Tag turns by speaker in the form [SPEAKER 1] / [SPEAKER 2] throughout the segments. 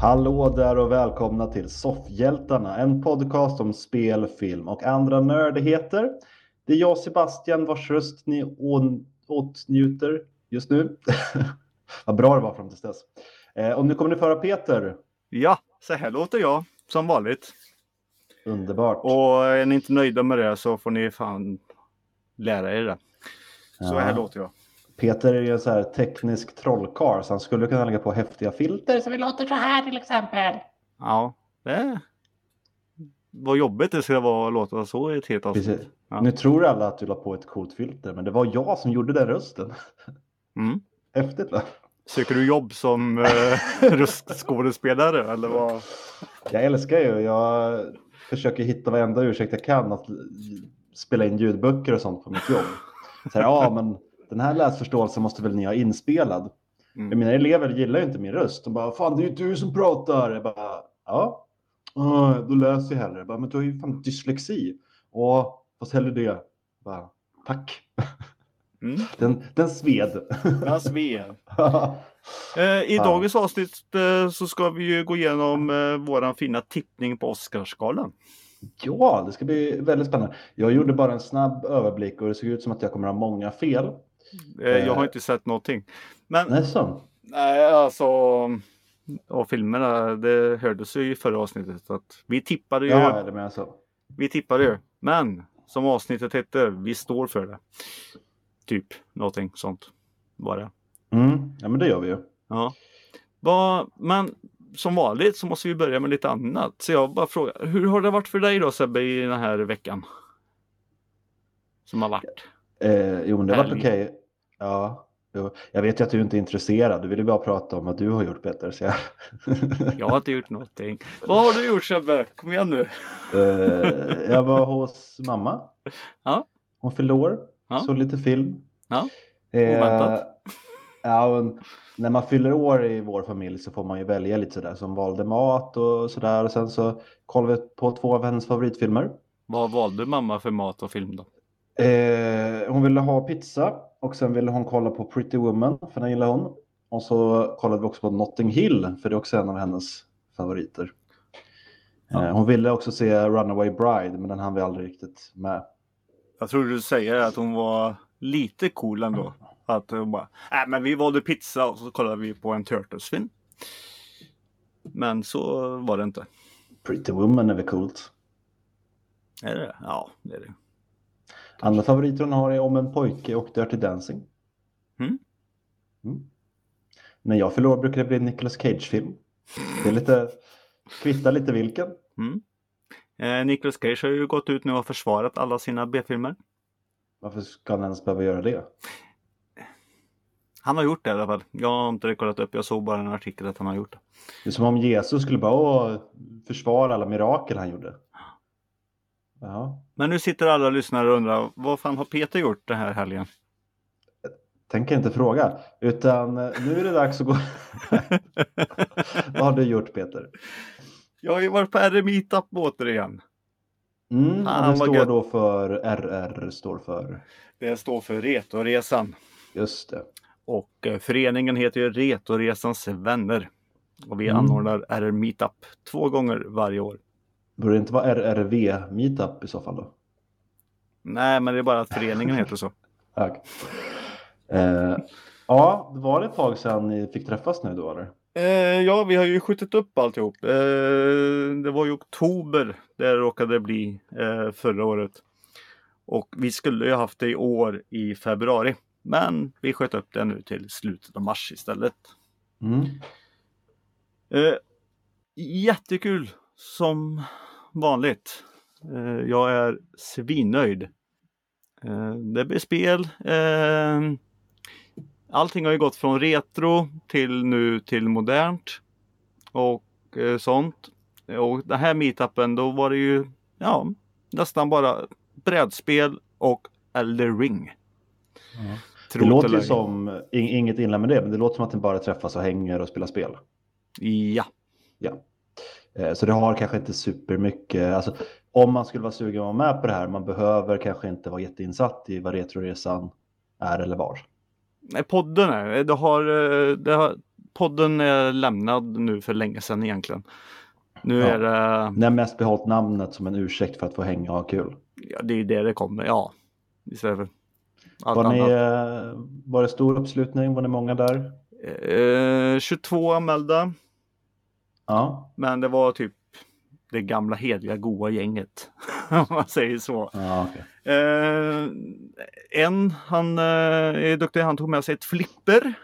[SPEAKER 1] Hallå där och välkomna till Soffhjältarna, en podcast om spel, film och andra nördigheter. Det är jag Sebastian vars röst ni å- åtnjuter just nu. Vad bra det var fram tills dess. Eh, och nu kommer ni föra Peter.
[SPEAKER 2] Ja, så här låter jag som vanligt.
[SPEAKER 1] Underbart.
[SPEAKER 2] Och är ni inte nöjda med det så får ni fan lära er det. Så här
[SPEAKER 1] Ja.
[SPEAKER 2] låter jag.
[SPEAKER 1] Peter är ju en så här teknisk trollkarl så han skulle kunna lägga på häftiga filter så vi låter så här till exempel.
[SPEAKER 2] Ja, det Vad jobbigt det skulle vara att låta så alltså. i ett helt avsnitt.
[SPEAKER 1] Precis.
[SPEAKER 2] Ja.
[SPEAKER 1] Nu tror alla att du la på ett coolt filter men det var jag som gjorde den rösten.
[SPEAKER 2] Mm.
[SPEAKER 1] Häftigt va?
[SPEAKER 2] Söker du jobb som eh, röstskådespelare eller vad?
[SPEAKER 1] Jag älskar ju, jag försöker hitta varenda ursäkt jag kan att spela in ljudböcker och sånt på mitt jobb. Så här, ja, men den här läsförståelsen måste väl ni ha inspelad?
[SPEAKER 2] Mm.
[SPEAKER 1] Men Mina elever gillar ju inte min röst. De bara, fan det är ju du som pratar. Jag bara, ja, "Ah, då läser jag hellre. Jag bara, men du har ju fan dyslexi. Och fast hellre det. Jag bara, Tack.
[SPEAKER 2] Mm.
[SPEAKER 1] Den, den sved.
[SPEAKER 2] Eh, I
[SPEAKER 1] Ja.
[SPEAKER 2] dagens avsnitt eh, så ska vi ju gå igenom eh, våran fina tippning på Oscarsgalan.
[SPEAKER 1] Ja, det ska bli väldigt spännande. Jag gjorde bara en snabb överblick och det såg ut som att jag kommer ha många fel.
[SPEAKER 2] Eh, jag har inte sett någonting. Men
[SPEAKER 1] Nej, så.
[SPEAKER 2] Nej, alltså. Och filmerna, det hördes ju i förra avsnittet att vi tippade ju.
[SPEAKER 1] Ja, ja, det menar jag så.
[SPEAKER 2] Vi tippade ju. Men som avsnittet hette, vi står för det. Typ någonting sånt var det.
[SPEAKER 1] Mm. Ja, men det gör vi ju.
[SPEAKER 2] Ja. Va, men som vanligt så måste vi börja med lite annat. Så jag bara frågar, hur har det varit för dig då Sebbe i den här veckan? Som har varit.
[SPEAKER 1] Eh, jo, men det har varit
[SPEAKER 2] Härligt.
[SPEAKER 1] okej. Ja. Jo. Jag vet ju att du inte är intresserad. Du ville bara prata om vad du har gjort, Peter. Så jag...
[SPEAKER 2] Jag har inte gjort någonting. Vad har du gjort Sebbe? Kom igen nu.
[SPEAKER 1] eh, jag var hos mamma.
[SPEAKER 2] Ja.
[SPEAKER 1] Hon fyllde år.
[SPEAKER 2] Ja.
[SPEAKER 1] Såg lite film.
[SPEAKER 2] Ja.
[SPEAKER 1] Eh,
[SPEAKER 2] Oväntat.
[SPEAKER 1] ja, men när man fyller år i vår familj så får man ju välja lite sådär. Som valde mat och sådär. Och sen så kollade vi på två av hennes favoritfilmer.
[SPEAKER 2] Vad valde mamma för mat och film då?
[SPEAKER 1] Eh, hon ville ha pizza och sen ville hon kolla på Pretty Woman, för den gillar hon. Och så kollade vi också på Notting Hill, för det är också en av hennes favoriter.
[SPEAKER 2] Ja.
[SPEAKER 1] Eh, hon ville också se Runaway Bride, men den hann vi aldrig riktigt med.
[SPEAKER 2] Jag tror du säger att hon var lite cool ändå. Att hon bara, nej men vi valde pizza och så kollade vi på en Turtles-film. Men så var det inte.
[SPEAKER 1] Pretty Woman är väl coolt.
[SPEAKER 2] Är det Ja, det är det.
[SPEAKER 1] Andra favoriter hon har är Om en pojke och Dirty Dancing.
[SPEAKER 2] Mm.
[SPEAKER 1] Mm. När jag förlorar brukar det bli en Nicolas Cage-film. Det är lite, kvittar lite vilken.
[SPEAKER 2] Eh, Nicolas Cage har ju gått ut nu och försvarat alla sina B-filmer.
[SPEAKER 1] Varför ska han ens behöva göra det?
[SPEAKER 2] Han har gjort det i alla fall. Jag har inte kollat upp. Jag såg bara en artikel att han har gjort det.
[SPEAKER 1] Det är som om Jesus skulle bara "Åh, försvara alla mirakel han gjorde. Ja,
[SPEAKER 2] Men nu sitter alla lyssnare och undrar, vad fan har Peter gjort den här helgen?
[SPEAKER 1] tänker inte fråga. Utan eh, nu är det dags att gå... Vad har du gjort Peter?
[SPEAKER 2] Jag har ju varit på RMI-tapp återigen.
[SPEAKER 1] Mm,
[SPEAKER 2] Fan,
[SPEAKER 1] och det
[SPEAKER 2] vad
[SPEAKER 1] står
[SPEAKER 2] gött.
[SPEAKER 1] då för RR står för...
[SPEAKER 2] Det står för Retoresan.
[SPEAKER 1] Just det.
[SPEAKER 2] Och eh, föreningen heter ju Retoresans vänner. Och vi
[SPEAKER 1] Mm.
[SPEAKER 2] anordnar RR Meetup två gånger varje år.
[SPEAKER 1] Borde det inte vara RRV Meetup i så fall då?
[SPEAKER 2] Nej, men det är bara att föreningen heter så.
[SPEAKER 1] Tack. Eh, ja, det var det ett tag sedan ni fick träffas nu då eller?
[SPEAKER 2] Eh, ja, vi har ju skjutit upp alltihop. Eh, det var ju oktober det råkade bli eh, förra året. Och vi skulle ju haft det i år i februari. Men vi sköt upp det nu till slutet av mars istället.
[SPEAKER 1] Mm.
[SPEAKER 2] Eh, jättekul som vanligt. Eh, jag är svinnöjd. Eh, det blir spel. Eh, allting har ju gått från retro till nu till modernt och eh, sånt. Och den här meetupen då var det ju ja, nästan bara brädspel och Elder Ring.
[SPEAKER 1] Ja.
[SPEAKER 2] Tro
[SPEAKER 1] Det
[SPEAKER 2] det
[SPEAKER 1] låter ju
[SPEAKER 2] eller ej.
[SPEAKER 1] som, ing- inget illa med det, men det låter som att ni bara träffas och hänger och spelar spel.
[SPEAKER 2] Ja,
[SPEAKER 1] Eh, Så det har kanske inte supermycket, alltså, om man skulle vara sugen att vara med på det här, man behöver kanske inte vara jätteinsatt i vad Retroresan är eller var.
[SPEAKER 2] Nej, podden är det. Har, eh, det har, podden är lämnad nu för länge sedan egentligen. Nu
[SPEAKER 1] Ja.
[SPEAKER 2] är det,
[SPEAKER 1] När mest behållit namnet som en ursäkt för att få hänga och ha kul.
[SPEAKER 2] ja, det är ju det det kommer, ja. Istället för allt
[SPEAKER 1] Var, ni,
[SPEAKER 2] annat.
[SPEAKER 1] eh, var det stor uppslutning? Var ni många där?
[SPEAKER 2] Eh, 22 anmälda,
[SPEAKER 1] Ja.
[SPEAKER 2] men det var typ det gamla heliga goa gänget. Om man säger så.
[SPEAKER 1] ja okej.
[SPEAKER 2] Eh, en, han eh, är duktig, han tog med sig ett flipper.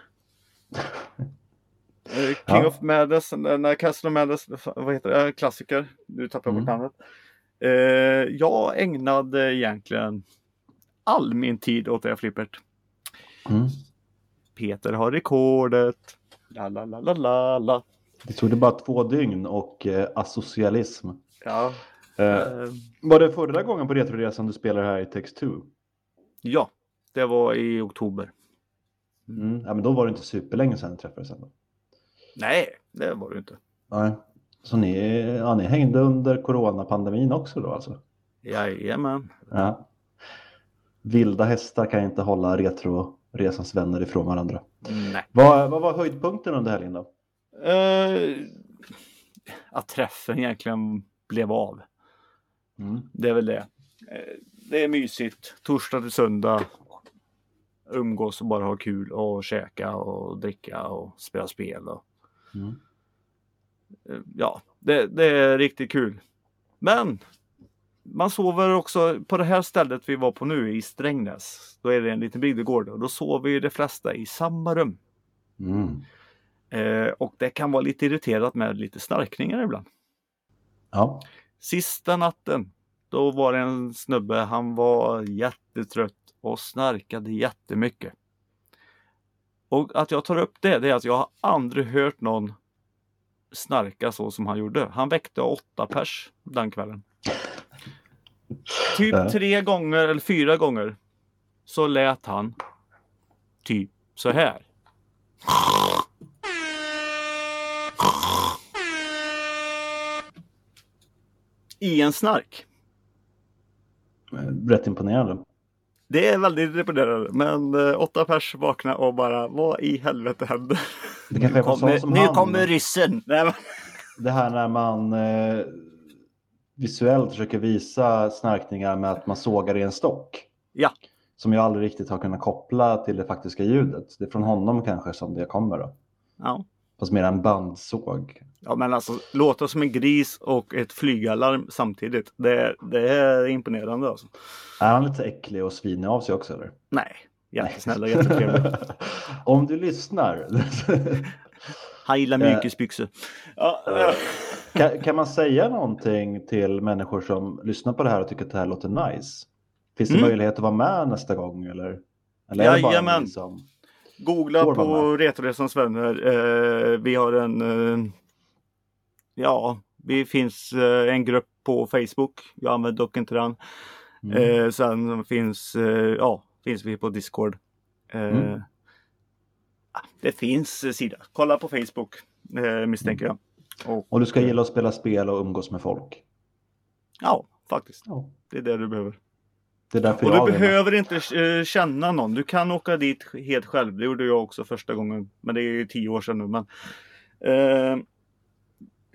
[SPEAKER 2] Eh, King
[SPEAKER 1] Ja.
[SPEAKER 2] of Madness, eh, nej, Castle of Madness, vad heter det? Eh, Klassiker. Nu tappar jag bort
[SPEAKER 1] Mm.
[SPEAKER 2] namnet. Eh, jag ägnade egentligen all min tid åt det här flippert.
[SPEAKER 1] Mm.
[SPEAKER 2] Peter har rekordet. La, la, la, la, la, la.
[SPEAKER 1] Det tog det bara två dygn och eh, asocialism.
[SPEAKER 2] Ja,
[SPEAKER 1] Eh,
[SPEAKER 2] eh,
[SPEAKER 1] var det förra gången på Retroresan du spelade här i Text 2?
[SPEAKER 2] ja, det var i oktober.
[SPEAKER 1] Mm. Ja, men då var det inte superlänge sedan ni träffades ändå.
[SPEAKER 2] Nej, det var det inte.
[SPEAKER 1] Nej. Så ni, ja, ni hängde under coronapandemin också då alltså?
[SPEAKER 2] Jajamän.
[SPEAKER 1] Ja. Vilda hästar kan inte hålla Retroresans vänner ifrån varandra.
[SPEAKER 2] Nej.
[SPEAKER 1] Vad, vad var höjdpunkten under helgen då?
[SPEAKER 2] Eh, att träffen egentligen blev av.
[SPEAKER 1] Mm.
[SPEAKER 2] Det är väl det. Eh, det är mysigt. Torsdag till söndag. Umgås och bara ha kul och käka och dricka och spela spel. Och,
[SPEAKER 1] Mm.
[SPEAKER 2] eh, ja, det, det är riktigt kul. Men man sover också på det här stället vi var på nu i Strängnäs. Då är det en liten bygdegård och då sover ju de flesta i samma rum.
[SPEAKER 1] Mm.
[SPEAKER 2] Eh, och det kan vara lite irriterat med lite snarkningar ibland.
[SPEAKER 1] Ja.
[SPEAKER 2] Sista natten, då var det en snubbe, han var jättetrött och snarkade jättemycket. Och att jag tar upp det, det är att jag har aldrig hört någon snarka så som han gjorde. Han väckte åtta pers den kvällen.
[SPEAKER 1] Ja.
[SPEAKER 2] Typ tre gånger eller fyra gånger så lät han typ så här. I en snark.
[SPEAKER 1] Rätt imponerande.
[SPEAKER 2] Det är väldigt imponerande, men eh, åtta pers vakna och bara vad i helvete händer?
[SPEAKER 1] Det kanske är på sånt som
[SPEAKER 2] nu
[SPEAKER 1] han.
[SPEAKER 2] kommer ryssen! Nej, men-
[SPEAKER 1] Det här när man eh, visuellt försöker visa snarkningar med att man sågar i en stock.
[SPEAKER 2] Ja.
[SPEAKER 1] Som jag aldrig riktigt har kunnat koppla till det faktiska ljudet. Det är från honom kanske som det kommer då.
[SPEAKER 2] ja.
[SPEAKER 1] Fast mer en bandsåg.
[SPEAKER 2] ja, men alltså låta som en gris och ett flygalarm samtidigt. Det, är- det är imponerande alltså.
[SPEAKER 1] Är han lite äcklig och svinig av sig också eller?
[SPEAKER 2] Nej, jättesnäll och
[SPEAKER 1] Nej.
[SPEAKER 2] jättetrevlig.
[SPEAKER 1] Om du lyssnar.
[SPEAKER 2] Han gillar
[SPEAKER 1] Eh.
[SPEAKER 2] mykesbyxor. Ja, eh,
[SPEAKER 1] kan, kan man säga någonting till människor som lyssnar på det här och tycker att det här låter nice? Finns det
[SPEAKER 2] Mm.
[SPEAKER 1] möjlighet att vara med nästa gång eller? Eller är det bara
[SPEAKER 2] Jajamän.
[SPEAKER 1] en liksom...
[SPEAKER 2] googla
[SPEAKER 1] Går
[SPEAKER 2] på
[SPEAKER 1] man
[SPEAKER 2] Retoresans vänner. Eh, vi har en... Eh, ja, vi finns eh, en grupp på Facebook. Jag använder dock inte den.
[SPEAKER 1] Mm.
[SPEAKER 2] Eh, sen finns, eh, ja, finns vi på Discord. Eh,
[SPEAKER 1] Mm.
[SPEAKER 2] ah, Det finns eh, sida. Kolla på Facebook eh, misstänker jag. Och,
[SPEAKER 1] Och du ska gilla att spela spel och umgås med folk.
[SPEAKER 2] Ja, faktiskt.
[SPEAKER 1] Ja. Det
[SPEAKER 2] Det är det du behöver.
[SPEAKER 1] är därför
[SPEAKER 2] Och
[SPEAKER 1] jag
[SPEAKER 2] du
[SPEAKER 1] är med.
[SPEAKER 2] behöver inte eh, känna någon. Du kan åka dit helt själv. Det gjorde jag också första gången. Men det är ju tio år sedan nu. Men, eh,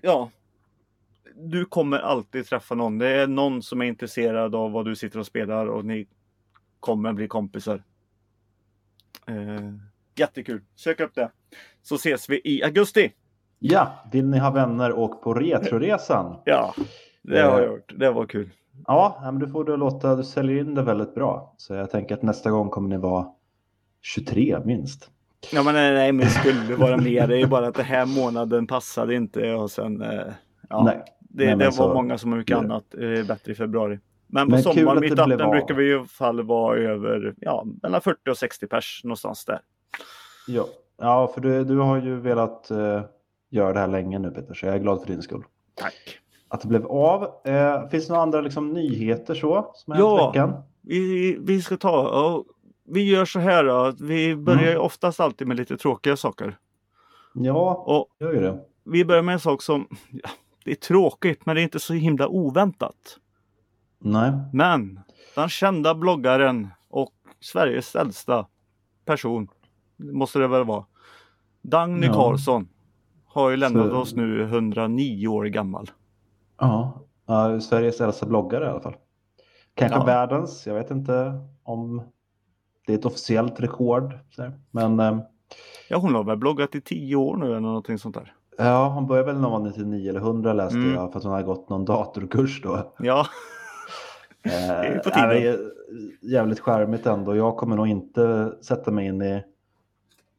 [SPEAKER 2] ja. Du kommer alltid träffa någon. Det är någon som är intresserad av vad du sitter och spelar och ni kommer bli kompisar. Eh, jättekul. Sök upp det. Så ses vi i augusti.
[SPEAKER 1] Ja, vill ni ha vänner och på Retroresan?
[SPEAKER 2] Ja, det har jag gjort. Det var kul.
[SPEAKER 1] Ja, nej, men du får det att låta, du säljer in det väldigt bra. Så jag tänker att nästa gång kommer ni vara 23 minst.
[SPEAKER 2] Ja men nej, nej men det skulle vara mer. Det är ju bara att den här månaden passade inte och sen eh, ja,
[SPEAKER 1] Nej.
[SPEAKER 2] det,
[SPEAKER 1] nej, men
[SPEAKER 2] det var
[SPEAKER 1] så-
[SPEAKER 2] många som har mycket
[SPEAKER 1] blir det.
[SPEAKER 2] annat eh, bättre i februari. Men på
[SPEAKER 1] Men kul
[SPEAKER 2] sommaren
[SPEAKER 1] att det
[SPEAKER 2] mitt
[SPEAKER 1] blev
[SPEAKER 2] appen
[SPEAKER 1] av.
[SPEAKER 2] brukar vi i alla fall vara över ja, mellan 40 och 60 pers någonstans där.
[SPEAKER 1] Ja, ja för du, du har ju velat eh, göra det här länge nu Peter, så jag är glad för din skull.
[SPEAKER 2] Tack!
[SPEAKER 1] Att det blev av. Eh, finns det några andra liksom, nyheter så som har
[SPEAKER 2] Ja.
[SPEAKER 1] hänt i veckan?
[SPEAKER 2] Vi, vi ska ta och vi gör så här då. att Vi börjar
[SPEAKER 1] Mm.
[SPEAKER 2] ju oftast alltid med lite tråkiga saker.
[SPEAKER 1] Ja,
[SPEAKER 2] Och
[SPEAKER 1] jag gör ju det.
[SPEAKER 2] vi börjar med en sak som ja, det är tråkigt men det är inte så himla oväntat.
[SPEAKER 1] Nej.
[SPEAKER 2] Men den kända bloggaren och Sveriges äldsta person måste det väl vara. Dagny
[SPEAKER 1] Ja.
[SPEAKER 2] Karlsson har ju lämnat
[SPEAKER 1] Så-
[SPEAKER 2] oss nu 109 år gammal.
[SPEAKER 1] Ja, ja, Sveriges äldsta bloggare i alla fall. Kanske
[SPEAKER 2] Ja.
[SPEAKER 1] världens. Jag vet inte om det är ett officiellt rekord. så här. Men eh,
[SPEAKER 2] Ja, hon har väl bloggat i 10 år nu eller någonting sånt där.
[SPEAKER 1] ja, hon började väl när hon var 99 eller 100 läste
[SPEAKER 2] Mm.
[SPEAKER 1] jag för att hon hade gått någon datorkurs då.
[SPEAKER 2] Ja, är ju på
[SPEAKER 1] Eh,
[SPEAKER 2] tiden.
[SPEAKER 1] nej, men, eh, jävligt charmigt ändå. Jag kommer nog inte sätta mig in i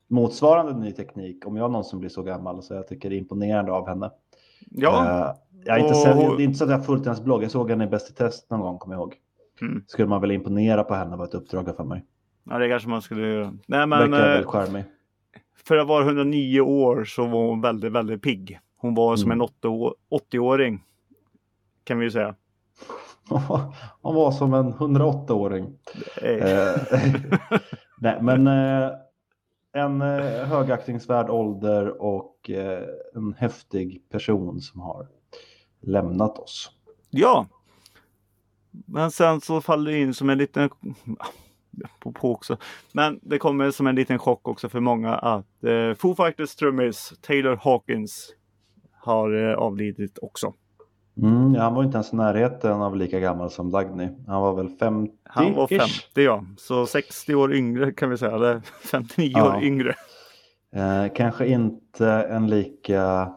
[SPEAKER 1] motsvarande ny teknik om jag någonsin blir så gammal. Så jag tycker det är imponerande av henne.
[SPEAKER 2] ja,
[SPEAKER 1] Eh, jag är inte,
[SPEAKER 2] Och-
[SPEAKER 1] sen, det är inte så att jag har följt hennes blogg. Jag såg henne i Bäst i test någon gång, kommer jag ihåg.
[SPEAKER 2] Mm.
[SPEAKER 1] Skulle man väl imponera på henne var ett uppdrag för mig.
[SPEAKER 2] ja det kanske man skulle göra. Nej,
[SPEAKER 1] Men,
[SPEAKER 2] men
[SPEAKER 1] Verkar
[SPEAKER 2] eh,
[SPEAKER 1] väldigt charmig.
[SPEAKER 2] för att vara 109 år så var hon väldigt, väldigt pigg. Hon var som
[SPEAKER 1] Mm.
[SPEAKER 2] en åtta å- 80-åring. Kan vi ju säga.
[SPEAKER 1] Hon var som en 108-åring. Eh,
[SPEAKER 2] Eh,
[SPEAKER 1] Nej, men eh, en eh, högaktningsvärd ålder och eh, en häftig person som har lämnat oss.
[SPEAKER 2] Ja. Men sen så faller det in som en liten... På, på också. Men det kommer som en liten chock också för många att eh, Foo Fighters trummis Taylor Hawkins har eh, avlidit också.
[SPEAKER 1] Mm, ja, han var ju inte ens i närheten av lika gammal som Dagny. Han var väl 50
[SPEAKER 2] Han var 50 ja, så 60 år yngre kan vi säga, eller 59
[SPEAKER 1] Ja.
[SPEAKER 2] år yngre.
[SPEAKER 1] Eh, kanske inte en lika...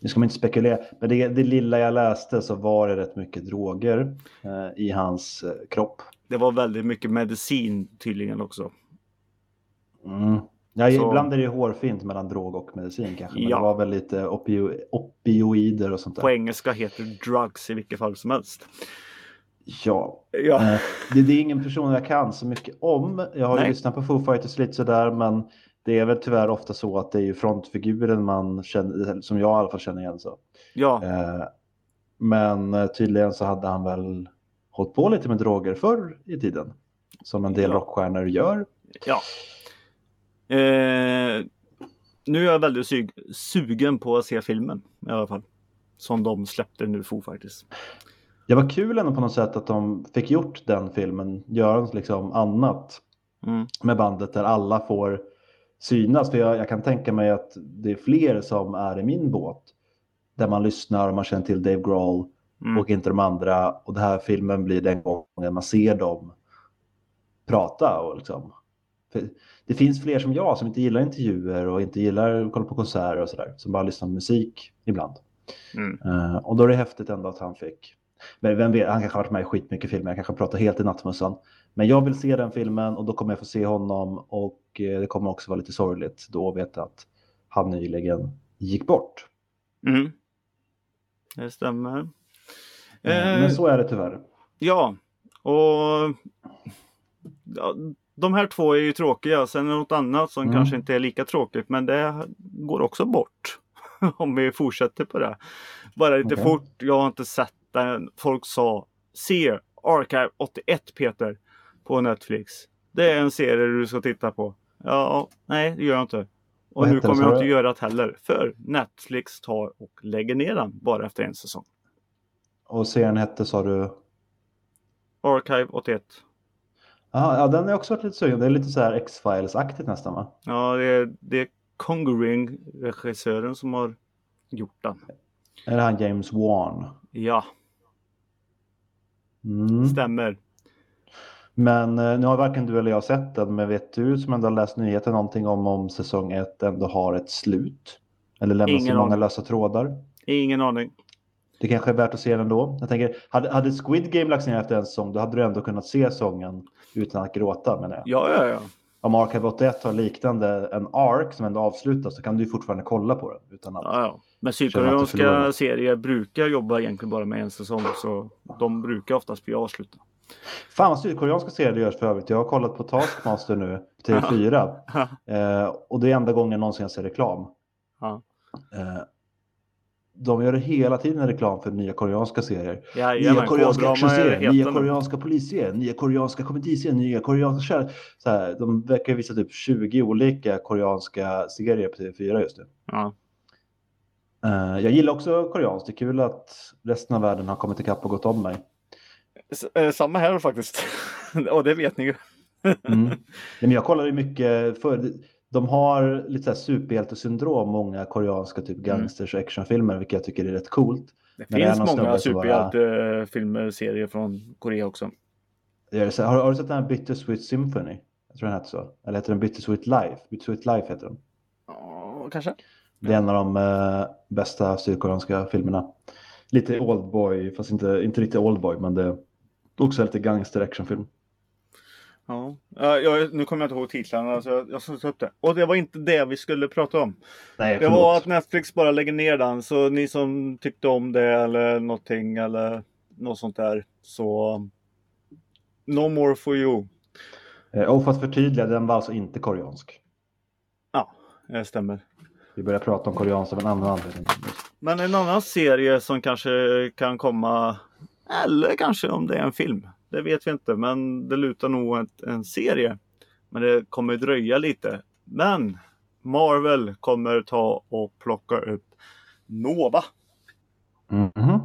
[SPEAKER 1] Nu ska man inte spekulera, men det, det lilla jag läste så var det rätt mycket droger eh, i hans eh, kropp.
[SPEAKER 2] Det var väldigt mycket medicin tydligen också.
[SPEAKER 1] Mm. Ja,
[SPEAKER 2] Så-
[SPEAKER 1] Ibland är det ju hårfint mellan drog och medicin kanske, men
[SPEAKER 2] Ja.
[SPEAKER 1] det var väl lite opio- opioider och sånt där.
[SPEAKER 2] På engelska heter det drugs i vilket fall som helst.
[SPEAKER 1] Ja,
[SPEAKER 2] Ja,
[SPEAKER 1] Eh, Det, det är ingen person jag kan så mycket om. Jag har ju
[SPEAKER 2] Nej.
[SPEAKER 1] lyssnat på Foo Fighters lite sådär, men det är väl tyvärr ofta så att det är ju frontfiguren man känner, eller som jag i alla fall känner igen. Så.
[SPEAKER 2] ja,
[SPEAKER 1] Eh, Men eh, tydligen så hade han väl hållit på lite med droger förr i tiden. Som en del
[SPEAKER 2] Ja.
[SPEAKER 1] rockstjärnor gör.
[SPEAKER 2] ja. Eh, nu är jag väldigt sug- sugen på att se filmen i alla fall. Som de släppte nu Foo Fighters.
[SPEAKER 1] Det var kul ändå på något sätt att de fick gjort den filmen, göra något liksom annat
[SPEAKER 2] Mm.
[SPEAKER 1] med bandet där alla får synas. För jag, jag kan tänka mig att det är fler som är i min båt. Där man lyssnar och man känner till Dave Grohl
[SPEAKER 2] Mm.
[SPEAKER 1] och inte de andra. Och den här filmen blir den gången man ser dem prata. Och liksom. För det finns fler som jag som inte gillar intervjuer och inte gillar att kolla på konserter och sådär. Som bara lyssnar på musik ibland.
[SPEAKER 2] Mm.
[SPEAKER 1] Eh, och då är det häftigt ändå att han fick. Men vem vet, han kanske har varit med i skitmycket filmer. Jag kanske pratar helt i nattmössan. Men jag vill se den filmen och då kommer jag få se honom. Och eh, det kommer också vara lite sorgligt då att veta att han nyligen gick bort.
[SPEAKER 2] Mm. Det stämmer.
[SPEAKER 1] Eh,
[SPEAKER 2] Eh,
[SPEAKER 1] Men så är det tyvärr.
[SPEAKER 2] Ja, och ja, de här två är ju tråkiga. Sen är det något annat som
[SPEAKER 1] Mm.
[SPEAKER 2] kanske inte är lika tråkigt, men det går också bort. Om vi fortsätter på det. Bara lite
[SPEAKER 1] Okej.
[SPEAKER 2] fort, jag har inte sett den. Folk sa se Archive 81 Peter på Netflix. Det är en serie du ska titta på. Ja, nej det gör jag inte. Och
[SPEAKER 1] Vad
[SPEAKER 2] nu
[SPEAKER 1] heter den,
[SPEAKER 2] kommer jag
[SPEAKER 1] sa
[SPEAKER 2] inte
[SPEAKER 1] du?
[SPEAKER 2] göra det heller. För Netflix tar och lägger ner den bara efter en säsong.
[SPEAKER 1] Och serien hette sa du?
[SPEAKER 2] Archive 81.
[SPEAKER 1] Aha, ja, den har jag också varit lite sugen. Det är lite så här X-Files-aktigt nästan va?
[SPEAKER 2] Ja, det är, det är Conjuring regissören som har gjort den.
[SPEAKER 1] Är det han James Wan?
[SPEAKER 2] Ja,
[SPEAKER 1] Mm.
[SPEAKER 2] stämmer.
[SPEAKER 1] Men eh, nu har varken du eller jag sett den. Men vet du som ändå har läst nyheter någonting om om säsong 1 ändå har ett slut? Eller lämnas det
[SPEAKER 2] Ingen
[SPEAKER 1] många
[SPEAKER 2] aning.
[SPEAKER 1] lösa trådar?
[SPEAKER 2] Ingen aning.
[SPEAKER 1] Det kanske är värt att se den då. Jag tänker, hade, hade Squid Game lagts ner efter en säsong då hade du ändå kunnat se sången utan att gråta menar jag.
[SPEAKER 2] Ja, ja, ja.
[SPEAKER 1] Om Archive 81 har liknande en ark som ändå avslutas så kan du ju fortfarande kolla på den. Utan att...
[SPEAKER 2] ja, ja. Men
[SPEAKER 1] Känner att du förlorar.
[SPEAKER 2] sydkoreanska serier brukar jobba egentligen bara med en säsong så de brukar oftast bli avslutade.
[SPEAKER 1] Fan vad sydkoreanska serier det görs för övrigt. Jag har kollat på Taskmaster nu, TV4. eh, och det är enda gången någonsin jag ser reklam.
[SPEAKER 2] Ja.
[SPEAKER 1] Eh, de gör hela tiden reklam för nya koreanska serier. nya
[SPEAKER 2] Jajamän,
[SPEAKER 1] koreanska
[SPEAKER 2] K-drama är
[SPEAKER 1] actionserier, nya
[SPEAKER 2] heten.
[SPEAKER 1] koreanska polisserier, nya koreanska komediserier, nya koreanska kärlek. Så här, de verkar visa typ 20 olika koreanska serier på TV4 just nu.
[SPEAKER 2] Ja.
[SPEAKER 1] Eh, jag gillar också koreanskt. Det är kul att resten av världen har kommit ikapp och gått om mig.
[SPEAKER 2] S- eh, Samma här faktiskt. Och det vet ni ju.
[SPEAKER 1] Mm. Nej, men jag kollade ju mycket förr. De har lite så här superhjältesyndrom, många koreanska typ gangsters och actionfilmer, vilket jag tycker är rätt coolt.
[SPEAKER 3] Det
[SPEAKER 1] Men det är
[SPEAKER 3] finns
[SPEAKER 1] någon
[SPEAKER 3] många
[SPEAKER 1] snubbe som bara-
[SPEAKER 2] eh,
[SPEAKER 3] superhjältefilmer, serier från Korea också.
[SPEAKER 1] Det är så här- Har, har du sett den här Bittersweet Symphony? Jag tror den heter så. Eller heter den Bittersweet Life? Bittersweet Life heter den.
[SPEAKER 3] Ja, kanske.
[SPEAKER 1] Det är en av de eh, bästa sydkoreanska filmerna. Lite oldboy, fast inte, inte riktigt oldboy, men det är också lite gangster actionfilm.
[SPEAKER 3] Ja. Ja, jag, nu kommer jag inte ihåg titlarna, så jag, jag ska ta upp det. Och det var inte det vi skulle prata om.
[SPEAKER 1] Nej,
[SPEAKER 3] Det var att Netflix bara lägger ner den, så ni som tyckte om det eller någonting eller något sånt där, så... No more for you.
[SPEAKER 1] Eh, Och för att förtydliga, den var alltså inte koreansk.
[SPEAKER 3] Ja, det eh, stämmer.
[SPEAKER 1] Vi börjar prata om koreansk av en annan anledning.
[SPEAKER 2] Men en annan serie som kanske kan komma, eller kanske om det är en film. Det vet vi inte, men det lutar nog åt en serie. Men det kommer dröja lite. Men Marvel kommer ta och plocka upp Nova.
[SPEAKER 1] Mhm.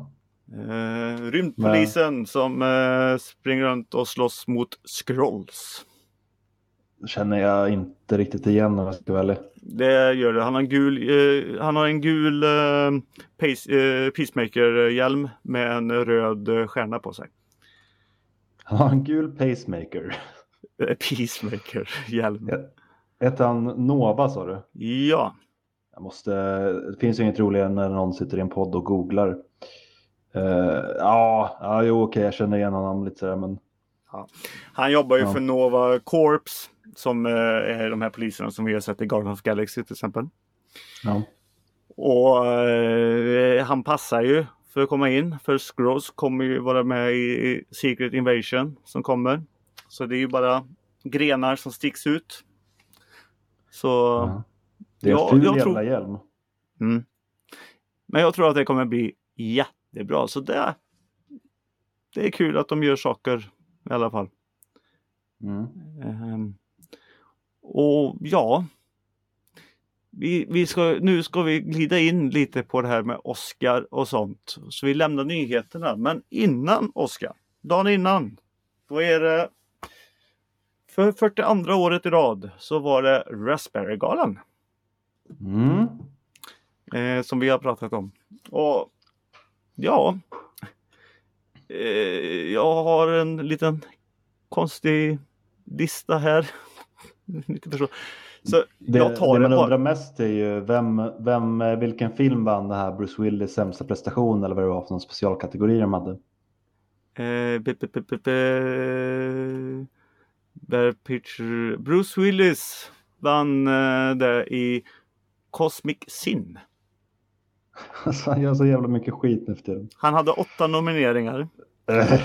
[SPEAKER 2] Eh, rymdpolisen som eh, springer runt och slåss mot Skrulls.
[SPEAKER 1] Känner jag inte riktigt igen om jag ska vara ärlig.
[SPEAKER 2] Det gör det. Han har en gul, eh, han har en gul eh, pace, eh, Peacemaker-hjälm med en röd eh, stjärna på sig.
[SPEAKER 1] Han har en gul pacemaker.
[SPEAKER 2] Eh, Peacemaker-hjälm.
[SPEAKER 1] Ja. Hette han Nova sa du?
[SPEAKER 2] Ja,
[SPEAKER 1] Jag måste... Det finns ju inget roligare än när någon sitter i en podd och googlar. Eh, ja, ja, jo okej, jag känner igen honom lite sådär men...
[SPEAKER 2] han jobbar ju
[SPEAKER 1] Ja.
[SPEAKER 2] för Nova Corps som eh, är de här poliserna som vi har sett i Garden of Galaxy till exempel.
[SPEAKER 1] Ja.
[SPEAKER 2] Och eh, han passar ju för att komma in. För Skrulls kommer ju vara med i Secret Invasion som kommer. Så det är ju bara grenar som sticks ut. Så,
[SPEAKER 1] Ja. Det är en
[SPEAKER 2] Ja,
[SPEAKER 1] ful
[SPEAKER 2] jag
[SPEAKER 1] jävla
[SPEAKER 2] tror-
[SPEAKER 1] hjälm.
[SPEAKER 2] mm. Men jag tror att det kommer bli jättebra. Så det, det är kul att de gör saker i alla fall.
[SPEAKER 1] Mm.
[SPEAKER 2] Ehm, och ja, vi, vi ska, nu ska vi glida in lite på det här med Oscar och sånt. Så vi lämnar nyheterna. Men innan Oscar, dagen innan, då är det för 42 året i rad så var det Raspberry-galan
[SPEAKER 1] Mm.
[SPEAKER 2] eh, som vi har pratat om. Och ja, eh, jag har en liten konstig lista här. Lite person. Så
[SPEAKER 1] Det,
[SPEAKER 2] jag tar
[SPEAKER 1] det
[SPEAKER 2] ett
[SPEAKER 1] man
[SPEAKER 2] par.
[SPEAKER 1] undrar mest är ju vem, vem, eh, vilken film vann det här Bruce Willis sämsta prestation eller vad det var för någon specialkategori de hade.
[SPEAKER 2] Eh, be- be- be- be- be- Bear Picture. Bruce Willis vann eh, det i Cosmic Sin.
[SPEAKER 1] Alltså, han gör så jävla mycket skit nu för tiden.
[SPEAKER 2] Han hade åtta nomineringar. Eh,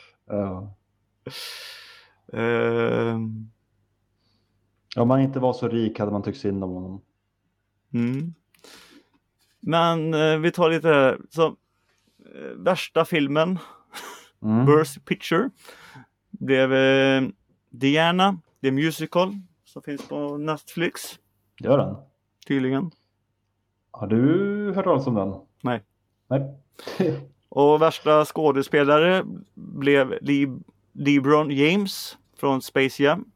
[SPEAKER 1] ja.
[SPEAKER 2] ehm,
[SPEAKER 1] Om han inte var så rik hade man tyckt synd om honom.
[SPEAKER 2] Mm. Men eh, vi tar lite här. Så, eh, värsta filmen,
[SPEAKER 1] Mm.
[SPEAKER 2] Burst Picture, blev eh, Diana, The Musical, som finns på Netflix
[SPEAKER 1] Gör han?
[SPEAKER 2] tydligen.
[SPEAKER 1] Har du hört talas om den?
[SPEAKER 2] Nej.
[SPEAKER 1] Nej.
[SPEAKER 2] Och värsta skådespelare blev Lib- LeBron James från Space Jam.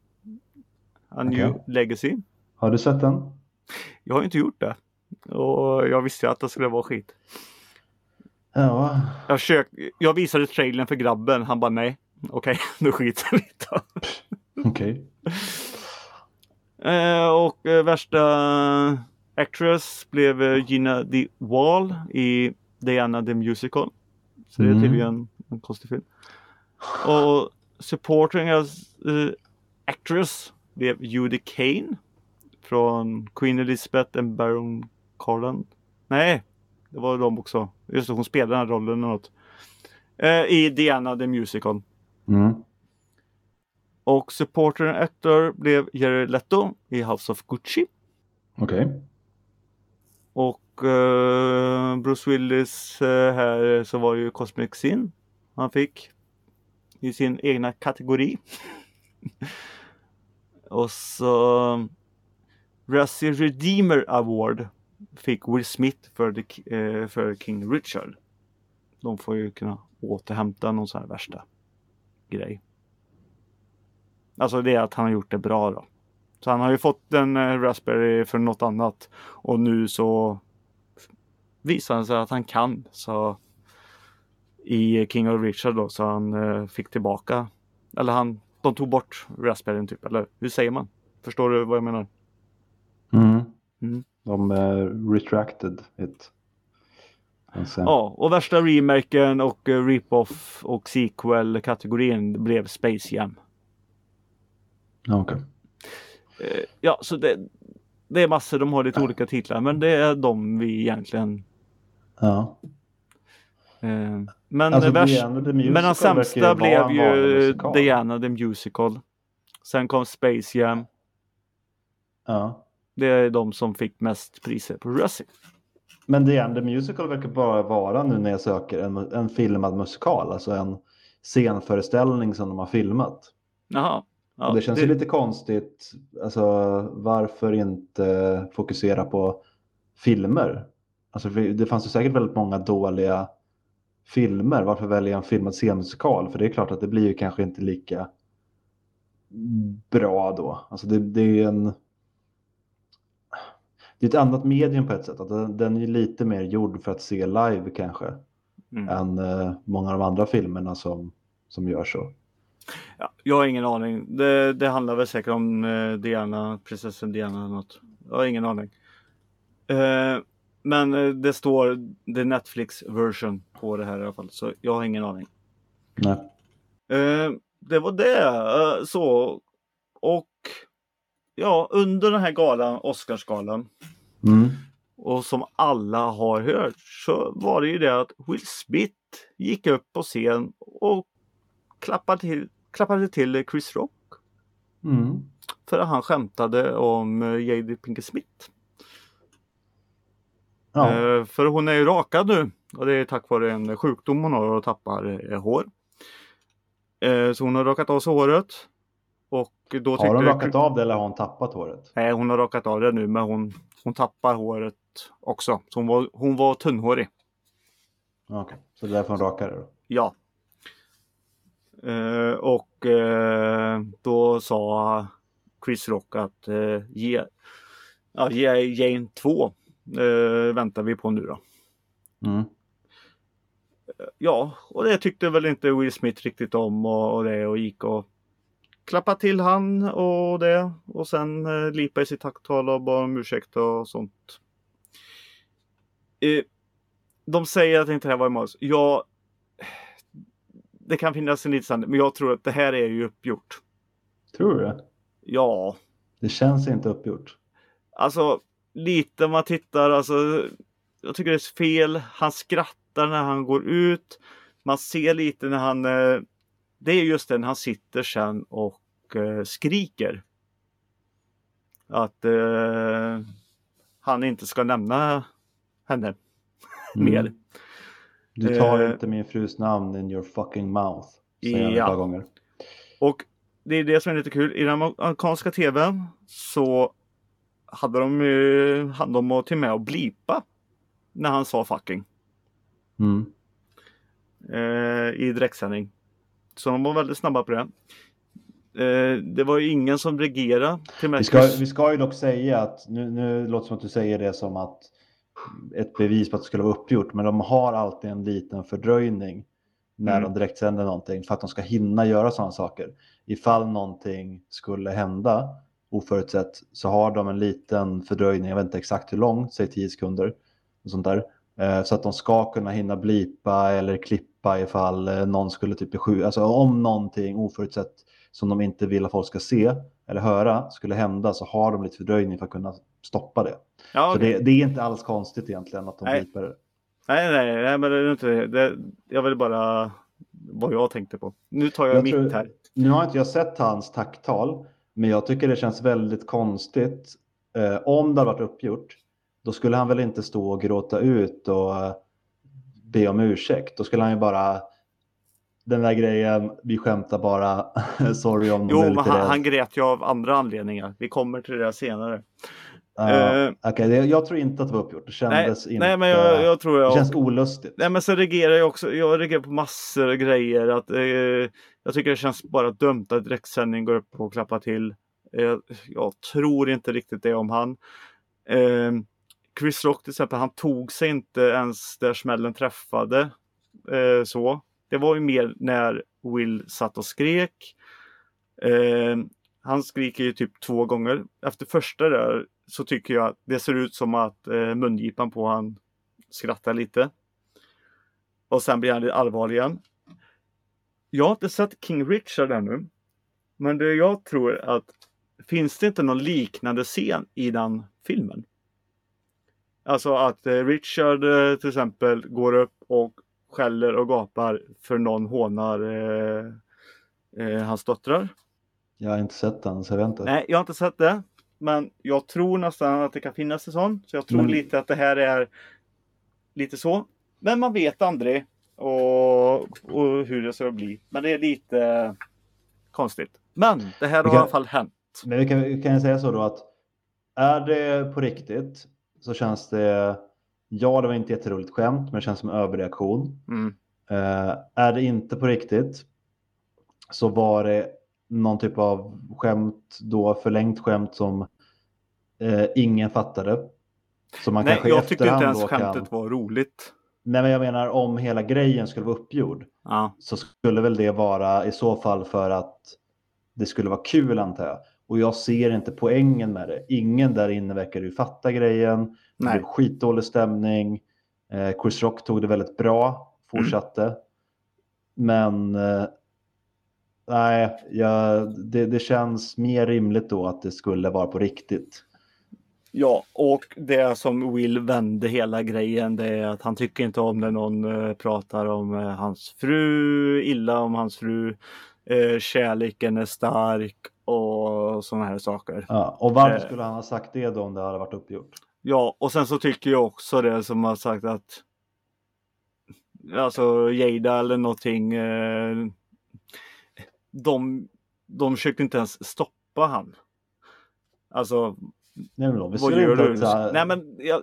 [SPEAKER 2] A New
[SPEAKER 1] Okej.
[SPEAKER 2] Legacy.
[SPEAKER 1] Har du sett den?
[SPEAKER 2] Jag har ju inte gjort det. Och jag visste ju att det skulle vara skit.
[SPEAKER 1] Ja.
[SPEAKER 2] Jag, försök, jag visade trailern för grabben, han bara nej. Okej, nu skiter vi i det.
[SPEAKER 1] Okej.
[SPEAKER 2] Eh, och eh, värsta eh, actress blev eh, Gina de Wall i Diana the Musical. Så det är
[SPEAKER 1] Mm.
[SPEAKER 2] tydligen en konstig film. Och supporting as, eh, actress blev Judy Kane från Queen Elizabeth and Baron Carland. Nej, det var de också. Just det, hon spelade den här rollen eller något. Eh, I Diana the Musical.
[SPEAKER 1] Mm.
[SPEAKER 2] Och supporter and actor blev Jared Leto i House of Gucci.
[SPEAKER 1] Okej.
[SPEAKER 2] Och eh, Bruce Willis eh, här så var det ju Cosmic Sin han fick i sin egna kategori. och så Razzie Redeemer Award fick Will Smith för, the, eh, för King Richard. De får ju kunna återhämta någon sån här värsta grej. Alltså det är att han har gjort det bra då. Så han har ju fått en eh, Raspberry för något annat och nu så visar han sig att han kan. Så i King of Richard då så han eh, fick tillbaka eller han de tog bort Raspberryn typ eller hur säger man? Förstår du vad jag menar?
[SPEAKER 1] Mm.
[SPEAKER 2] Mm.
[SPEAKER 1] De eh, retracted it. Och sen-
[SPEAKER 2] Ja, och värsta remakern och eh, rip-off och sequel-kategorin blev Space Jam.
[SPEAKER 1] Ja, okej.
[SPEAKER 2] Eh, Ja, så det, det är massor, de har lite olika titlar, men det är de vi egentligen...
[SPEAKER 1] Ja.
[SPEAKER 2] Eh, men
[SPEAKER 1] Alltså,
[SPEAKER 2] värst,
[SPEAKER 1] Diana the
[SPEAKER 2] men
[SPEAKER 1] Musical
[SPEAKER 2] den
[SPEAKER 1] verkar vara
[SPEAKER 2] sämsta blev
[SPEAKER 1] en vanlig
[SPEAKER 2] ju
[SPEAKER 1] musikal.
[SPEAKER 2] Diana the Musical. Sen kom Space Jam.
[SPEAKER 1] Ja.
[SPEAKER 2] Det är de som fick mest priser på Razzie.
[SPEAKER 1] Men The End the Musical verkar bara vara nu när jag söker en, en filmad musikal, alltså en scenföreställning som de har filmat.
[SPEAKER 2] Jaha. Ja,
[SPEAKER 1] och det känns ju lite konstigt, alltså varför inte fokusera på filmer? Alltså för det fanns ju säkert väldigt många dåliga filmer, varför välja en filmad scenmusikal? För det är klart att det blir ju kanske inte lika bra då. Alltså det, det är ju en... Det är ett annat medium på ett sätt, att den, den är ju lite mer gjord för att se live kanske,
[SPEAKER 2] Mm.
[SPEAKER 1] än eh, många av de andra filmerna som, som gör så.
[SPEAKER 2] Ja, jag har ingen aning. Det, det handlar väl säkert om eh, Diana, prinsessan Diana eller något. Jag har ingen aning. Eh, men eh, det står the Netflix version på det här i alla fall. Så jag har ingen aning.
[SPEAKER 1] Nej.
[SPEAKER 2] Eh, det var det. Eh, så. Och ja, under den här galan, Oscarsgalan.
[SPEAKER 1] Mm.
[SPEAKER 2] Och som alla har hört så var det ju det att Will Smith gick upp på scen och klappade till, klappade till Chris Rock.
[SPEAKER 1] Mm.
[SPEAKER 2] För att han skämtade om eh, Jada Pinkett Smith.
[SPEAKER 1] Ja.
[SPEAKER 2] Eh, För hon är ju rakad nu och det är tack vare en sjukdom hon har och tappar eh, hår. Eh, Så hon har rakat av sig håret. Och då
[SPEAKER 1] Har hon
[SPEAKER 2] tyckte-
[SPEAKER 1] rakat av det eller har hon tappat håret?
[SPEAKER 2] Nej, hon har rakat av det nu men hon, hon tappar håret också. Så hon var, hon var tunnhårig.
[SPEAKER 1] Okej, så det är därför hon rakar det då?
[SPEAKER 2] Ja. Eh, och eh, då sa Chris Rock att eh, ge, ja, ge Jane 2 eh, väntar vi på nu då.
[SPEAKER 1] Mm.
[SPEAKER 2] Ja, och det tyckte väl inte Will Smith riktigt om och, och det och gick och klappade till han och det och sen eh, lipa i sitt tacktal och bad om ursäkt och sånt. Eh, de säger att inte det här var i manus. Ja, det kan finnas en liten sanning, men jag tror att det här är ju uppgjort.
[SPEAKER 1] Tror du det?
[SPEAKER 2] Ja,
[SPEAKER 1] Det känns inte uppgjort.
[SPEAKER 2] Alltså lite om man tittar alltså. Jag tycker det är fel. Han skrattar när han går ut. Man ser lite när han. eh, Det är just det när han sitter sen och eh, skriker. Att eh, han inte ska nämna henne
[SPEAKER 1] Mm.
[SPEAKER 2] mer.
[SPEAKER 1] Du tar
[SPEAKER 2] Eh.
[SPEAKER 1] inte min frus namn in your fucking mouth. Säger han
[SPEAKER 2] Ja.
[SPEAKER 1] ett par gånger.
[SPEAKER 2] Och det är det som är lite kul. I den amerikanska tvn så hade de ju hand om att till och med att blipa när han sa fucking.
[SPEAKER 1] Mm.
[SPEAKER 2] eh, i direktsändning. Så de var väldigt snabba på det. Eh, det var ju ingen som reagerade
[SPEAKER 1] Vi,
[SPEAKER 2] till Marcus.
[SPEAKER 1] ska, vi ska ju dock säga att, nu, nu låter det som att du säger det som att ett bevis på att det skulle vara uppgjort, men de har alltid en liten fördröjning när
[SPEAKER 2] Mm.
[SPEAKER 1] de direktsänder någonting för att de ska hinna göra sådana saker. Ifall någonting skulle hända oförutsett så har de en liten fördröjning, jag vet inte exakt hur lång, säg 10 sekunder och sånt där. Eh, Så att de ska kunna hinna blipa eller klippa ifall eh, någon skulle typ bli sjuk. Alltså om någonting oförutsett som de inte vill att folk ska se eller höra skulle hända så har de lite fördröjning för att kunna stoppa det.
[SPEAKER 2] ja,
[SPEAKER 1] Så
[SPEAKER 2] okej.
[SPEAKER 1] det, det är inte alls konstigt egentligen att de
[SPEAKER 2] Nej.
[SPEAKER 1] blipar det.
[SPEAKER 2] nej, nej, nej, men det är inte det. det. Jag ville bara vad jag tänkte på. Nu tar jag,
[SPEAKER 1] Jag
[SPEAKER 2] mitt
[SPEAKER 1] tror- Mm,
[SPEAKER 2] här.
[SPEAKER 1] Nu har inte jag sett hans tacktal, men jag tycker det känns väldigt konstigt. Eh, om det hade varit uppgjort, då skulle han väl inte stå och gråta ut och eh, be om ursäkt. Då skulle han ju bara, den där grejen, vi skämtar bara, sorry om
[SPEAKER 2] Jo,
[SPEAKER 1] du är
[SPEAKER 2] men
[SPEAKER 1] lite
[SPEAKER 2] han,
[SPEAKER 1] rädd.
[SPEAKER 2] han grät ju av andra anledningar. Vi kommer till det senare.
[SPEAKER 1] Ja,
[SPEAKER 2] eh,
[SPEAKER 1] okej, det- jag tror inte att det var uppgjort, det
[SPEAKER 2] Nej,
[SPEAKER 1] kändes inte.
[SPEAKER 2] nej, men jag, jag tror jag...
[SPEAKER 1] Det känns olustigt.
[SPEAKER 2] Nej men sen reagerar jag också, jag reagerar på massor av grejer. Att, eh, jag tycker det känns bara dumt att direktsändning går upp och klappar till. Eh, jag tror inte riktigt det om han. Eh, Chris Rock till exempel, han tog sig inte ens där smällen träffade. Eh, så. Det var ju mer när Will satt och skrek. Eh, han skriker ju typ två gånger. Efter första där så tycker jag att det ser ut som att eh, mungipan på han skrattar lite. Och sen blir han lite allvarlig igen. Jag har inte sett King Richard ännu. Men det jag tror att finns det inte någon liknande scen i den filmen? Alltså att eh, Richard eh, till exempel går upp och skäller och gapar för någon hånar eh, eh, hans döttrar.
[SPEAKER 1] Jag har inte sett den så jag vet inte.
[SPEAKER 2] Nej, jag har inte sett det. Men jag tror nästan att det kan finnas en sån. Så jag tror
[SPEAKER 1] Men-
[SPEAKER 2] lite att det här är lite så. Men man vet aldrig och, och hur det ska bli. Men det är lite konstigt. Men det här har
[SPEAKER 1] Vi kan-
[SPEAKER 2] i alla fall hänt.
[SPEAKER 1] Men vi kan, vi kan ju säga så då att är det på riktigt så känns det, ja det var inte jätteroligt skämt men det känns som överreaktion.
[SPEAKER 2] Mm.
[SPEAKER 1] Eh, är det inte på riktigt så var det någon typ av skämt då, förlängt skämt som eh, ingen fattade. Som man
[SPEAKER 2] Nej,
[SPEAKER 1] kanske i
[SPEAKER 2] jag tycker inte
[SPEAKER 1] efterhand
[SPEAKER 2] ens
[SPEAKER 1] då kan-
[SPEAKER 2] skämtet var roligt.
[SPEAKER 1] Nej, men jag menar om hela grejen skulle vara uppgjord
[SPEAKER 2] Ja.
[SPEAKER 1] så skulle väl det vara i så fall för att det skulle vara kul antar jag. Och jag ser inte poängen med det. Ingen där inne verkar ju fatta grejen. Det
[SPEAKER 2] Nej.
[SPEAKER 1] blev skitdålig stämning. Eh, Chris Rock tog det väldigt bra, fortsatte. Men eh, nej, jag, det, det känns mer rimligt då att det skulle vara på riktigt.
[SPEAKER 2] Ja, och det som Will vände hela grejen det är att han tycker inte om när någon eh, pratar om eh, hans fru, illa om hans fru, eh, kärleken är stark och sådana här saker.
[SPEAKER 1] Ja, och varför
[SPEAKER 2] Eh.
[SPEAKER 1] skulle han ha sagt det då om det hade varit uppgjort?
[SPEAKER 2] Ja, och sen så tycker jag också det som har sagt att Alltså Jada eller någonting eh, de, de försökte inte ens stoppa han. Alltså
[SPEAKER 1] Nej, men då, vi
[SPEAKER 2] Vad
[SPEAKER 1] skulle
[SPEAKER 2] gör
[SPEAKER 1] inte
[SPEAKER 2] du?
[SPEAKER 1] också-
[SPEAKER 2] Nej men jag,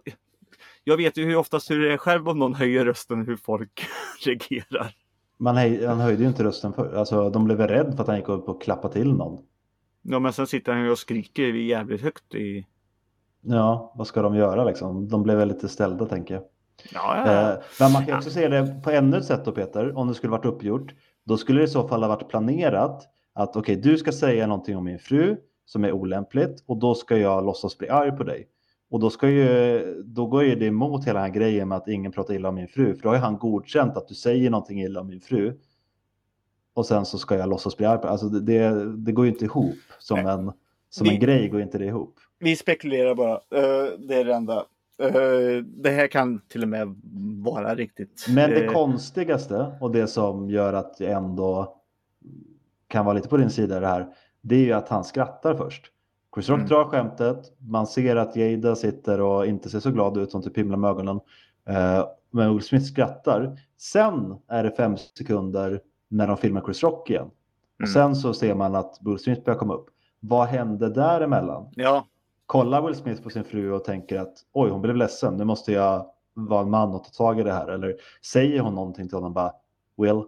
[SPEAKER 2] jag vet ju hur oftast hur det är själv om någon höjer rösten hur folk reagerar.
[SPEAKER 1] Man höj, han höjde ju inte rösten för. Alltså, de blev väl rädda för att han gick upp och klappade till någon.
[SPEAKER 2] Ja men sen sitter han ju och skriker jävligt högt i...
[SPEAKER 1] Ja, vad ska de göra liksom? De blev väl lite ställda tänker jag.
[SPEAKER 2] Ja,
[SPEAKER 1] Eh, men man kan också se det på ännu ett sätt då Peter, om det skulle varit uppgjort. Då skulle det i så fall ha varit planerat att okej, du ska säga någonting om min fru som är olämpligt och då ska jag låtsas bli arg på dig. Och då, ska ju, då går ju det emot hela den här grejen med att ingen pratar illa om min fru, för då har ju han godkänt att du säger någonting illa om min fru. Och sen så ska jag låtsas bli arg på dig. Alltså det, det, det går ju inte ihop som
[SPEAKER 2] Nej.
[SPEAKER 1] en, som
[SPEAKER 2] Vi-
[SPEAKER 1] en grej, går inte det ihop.
[SPEAKER 2] Vi spekulerar bara. Eh, det är det enda. Eh, det här kan till och med vara riktigt.
[SPEAKER 1] Men det
[SPEAKER 2] eh,
[SPEAKER 1] konstigaste och det som gör att jag ändå kan vara lite på din sida i det här, det är ju att han skrattar först. Chris Rock
[SPEAKER 2] Mm.
[SPEAKER 1] drar skämtet, man ser att Jada sitter och inte ser så glad ut, hon typ himlar med ögonen. Eh, Men Will Smith skrattar. Sen är det fem sekunder när de filmar Chris Rock igen. Och
[SPEAKER 2] Mm.
[SPEAKER 1] sen så ser man att Will Smith börjar komma upp. Vad hände däremellan?
[SPEAKER 2] Ja,
[SPEAKER 1] kollar Will Smith på sin fru och tänker att oj, hon blev ledsen, nu måste jag vara en man och ta tag i det här. Eller säger hon någonting till honom bara Will,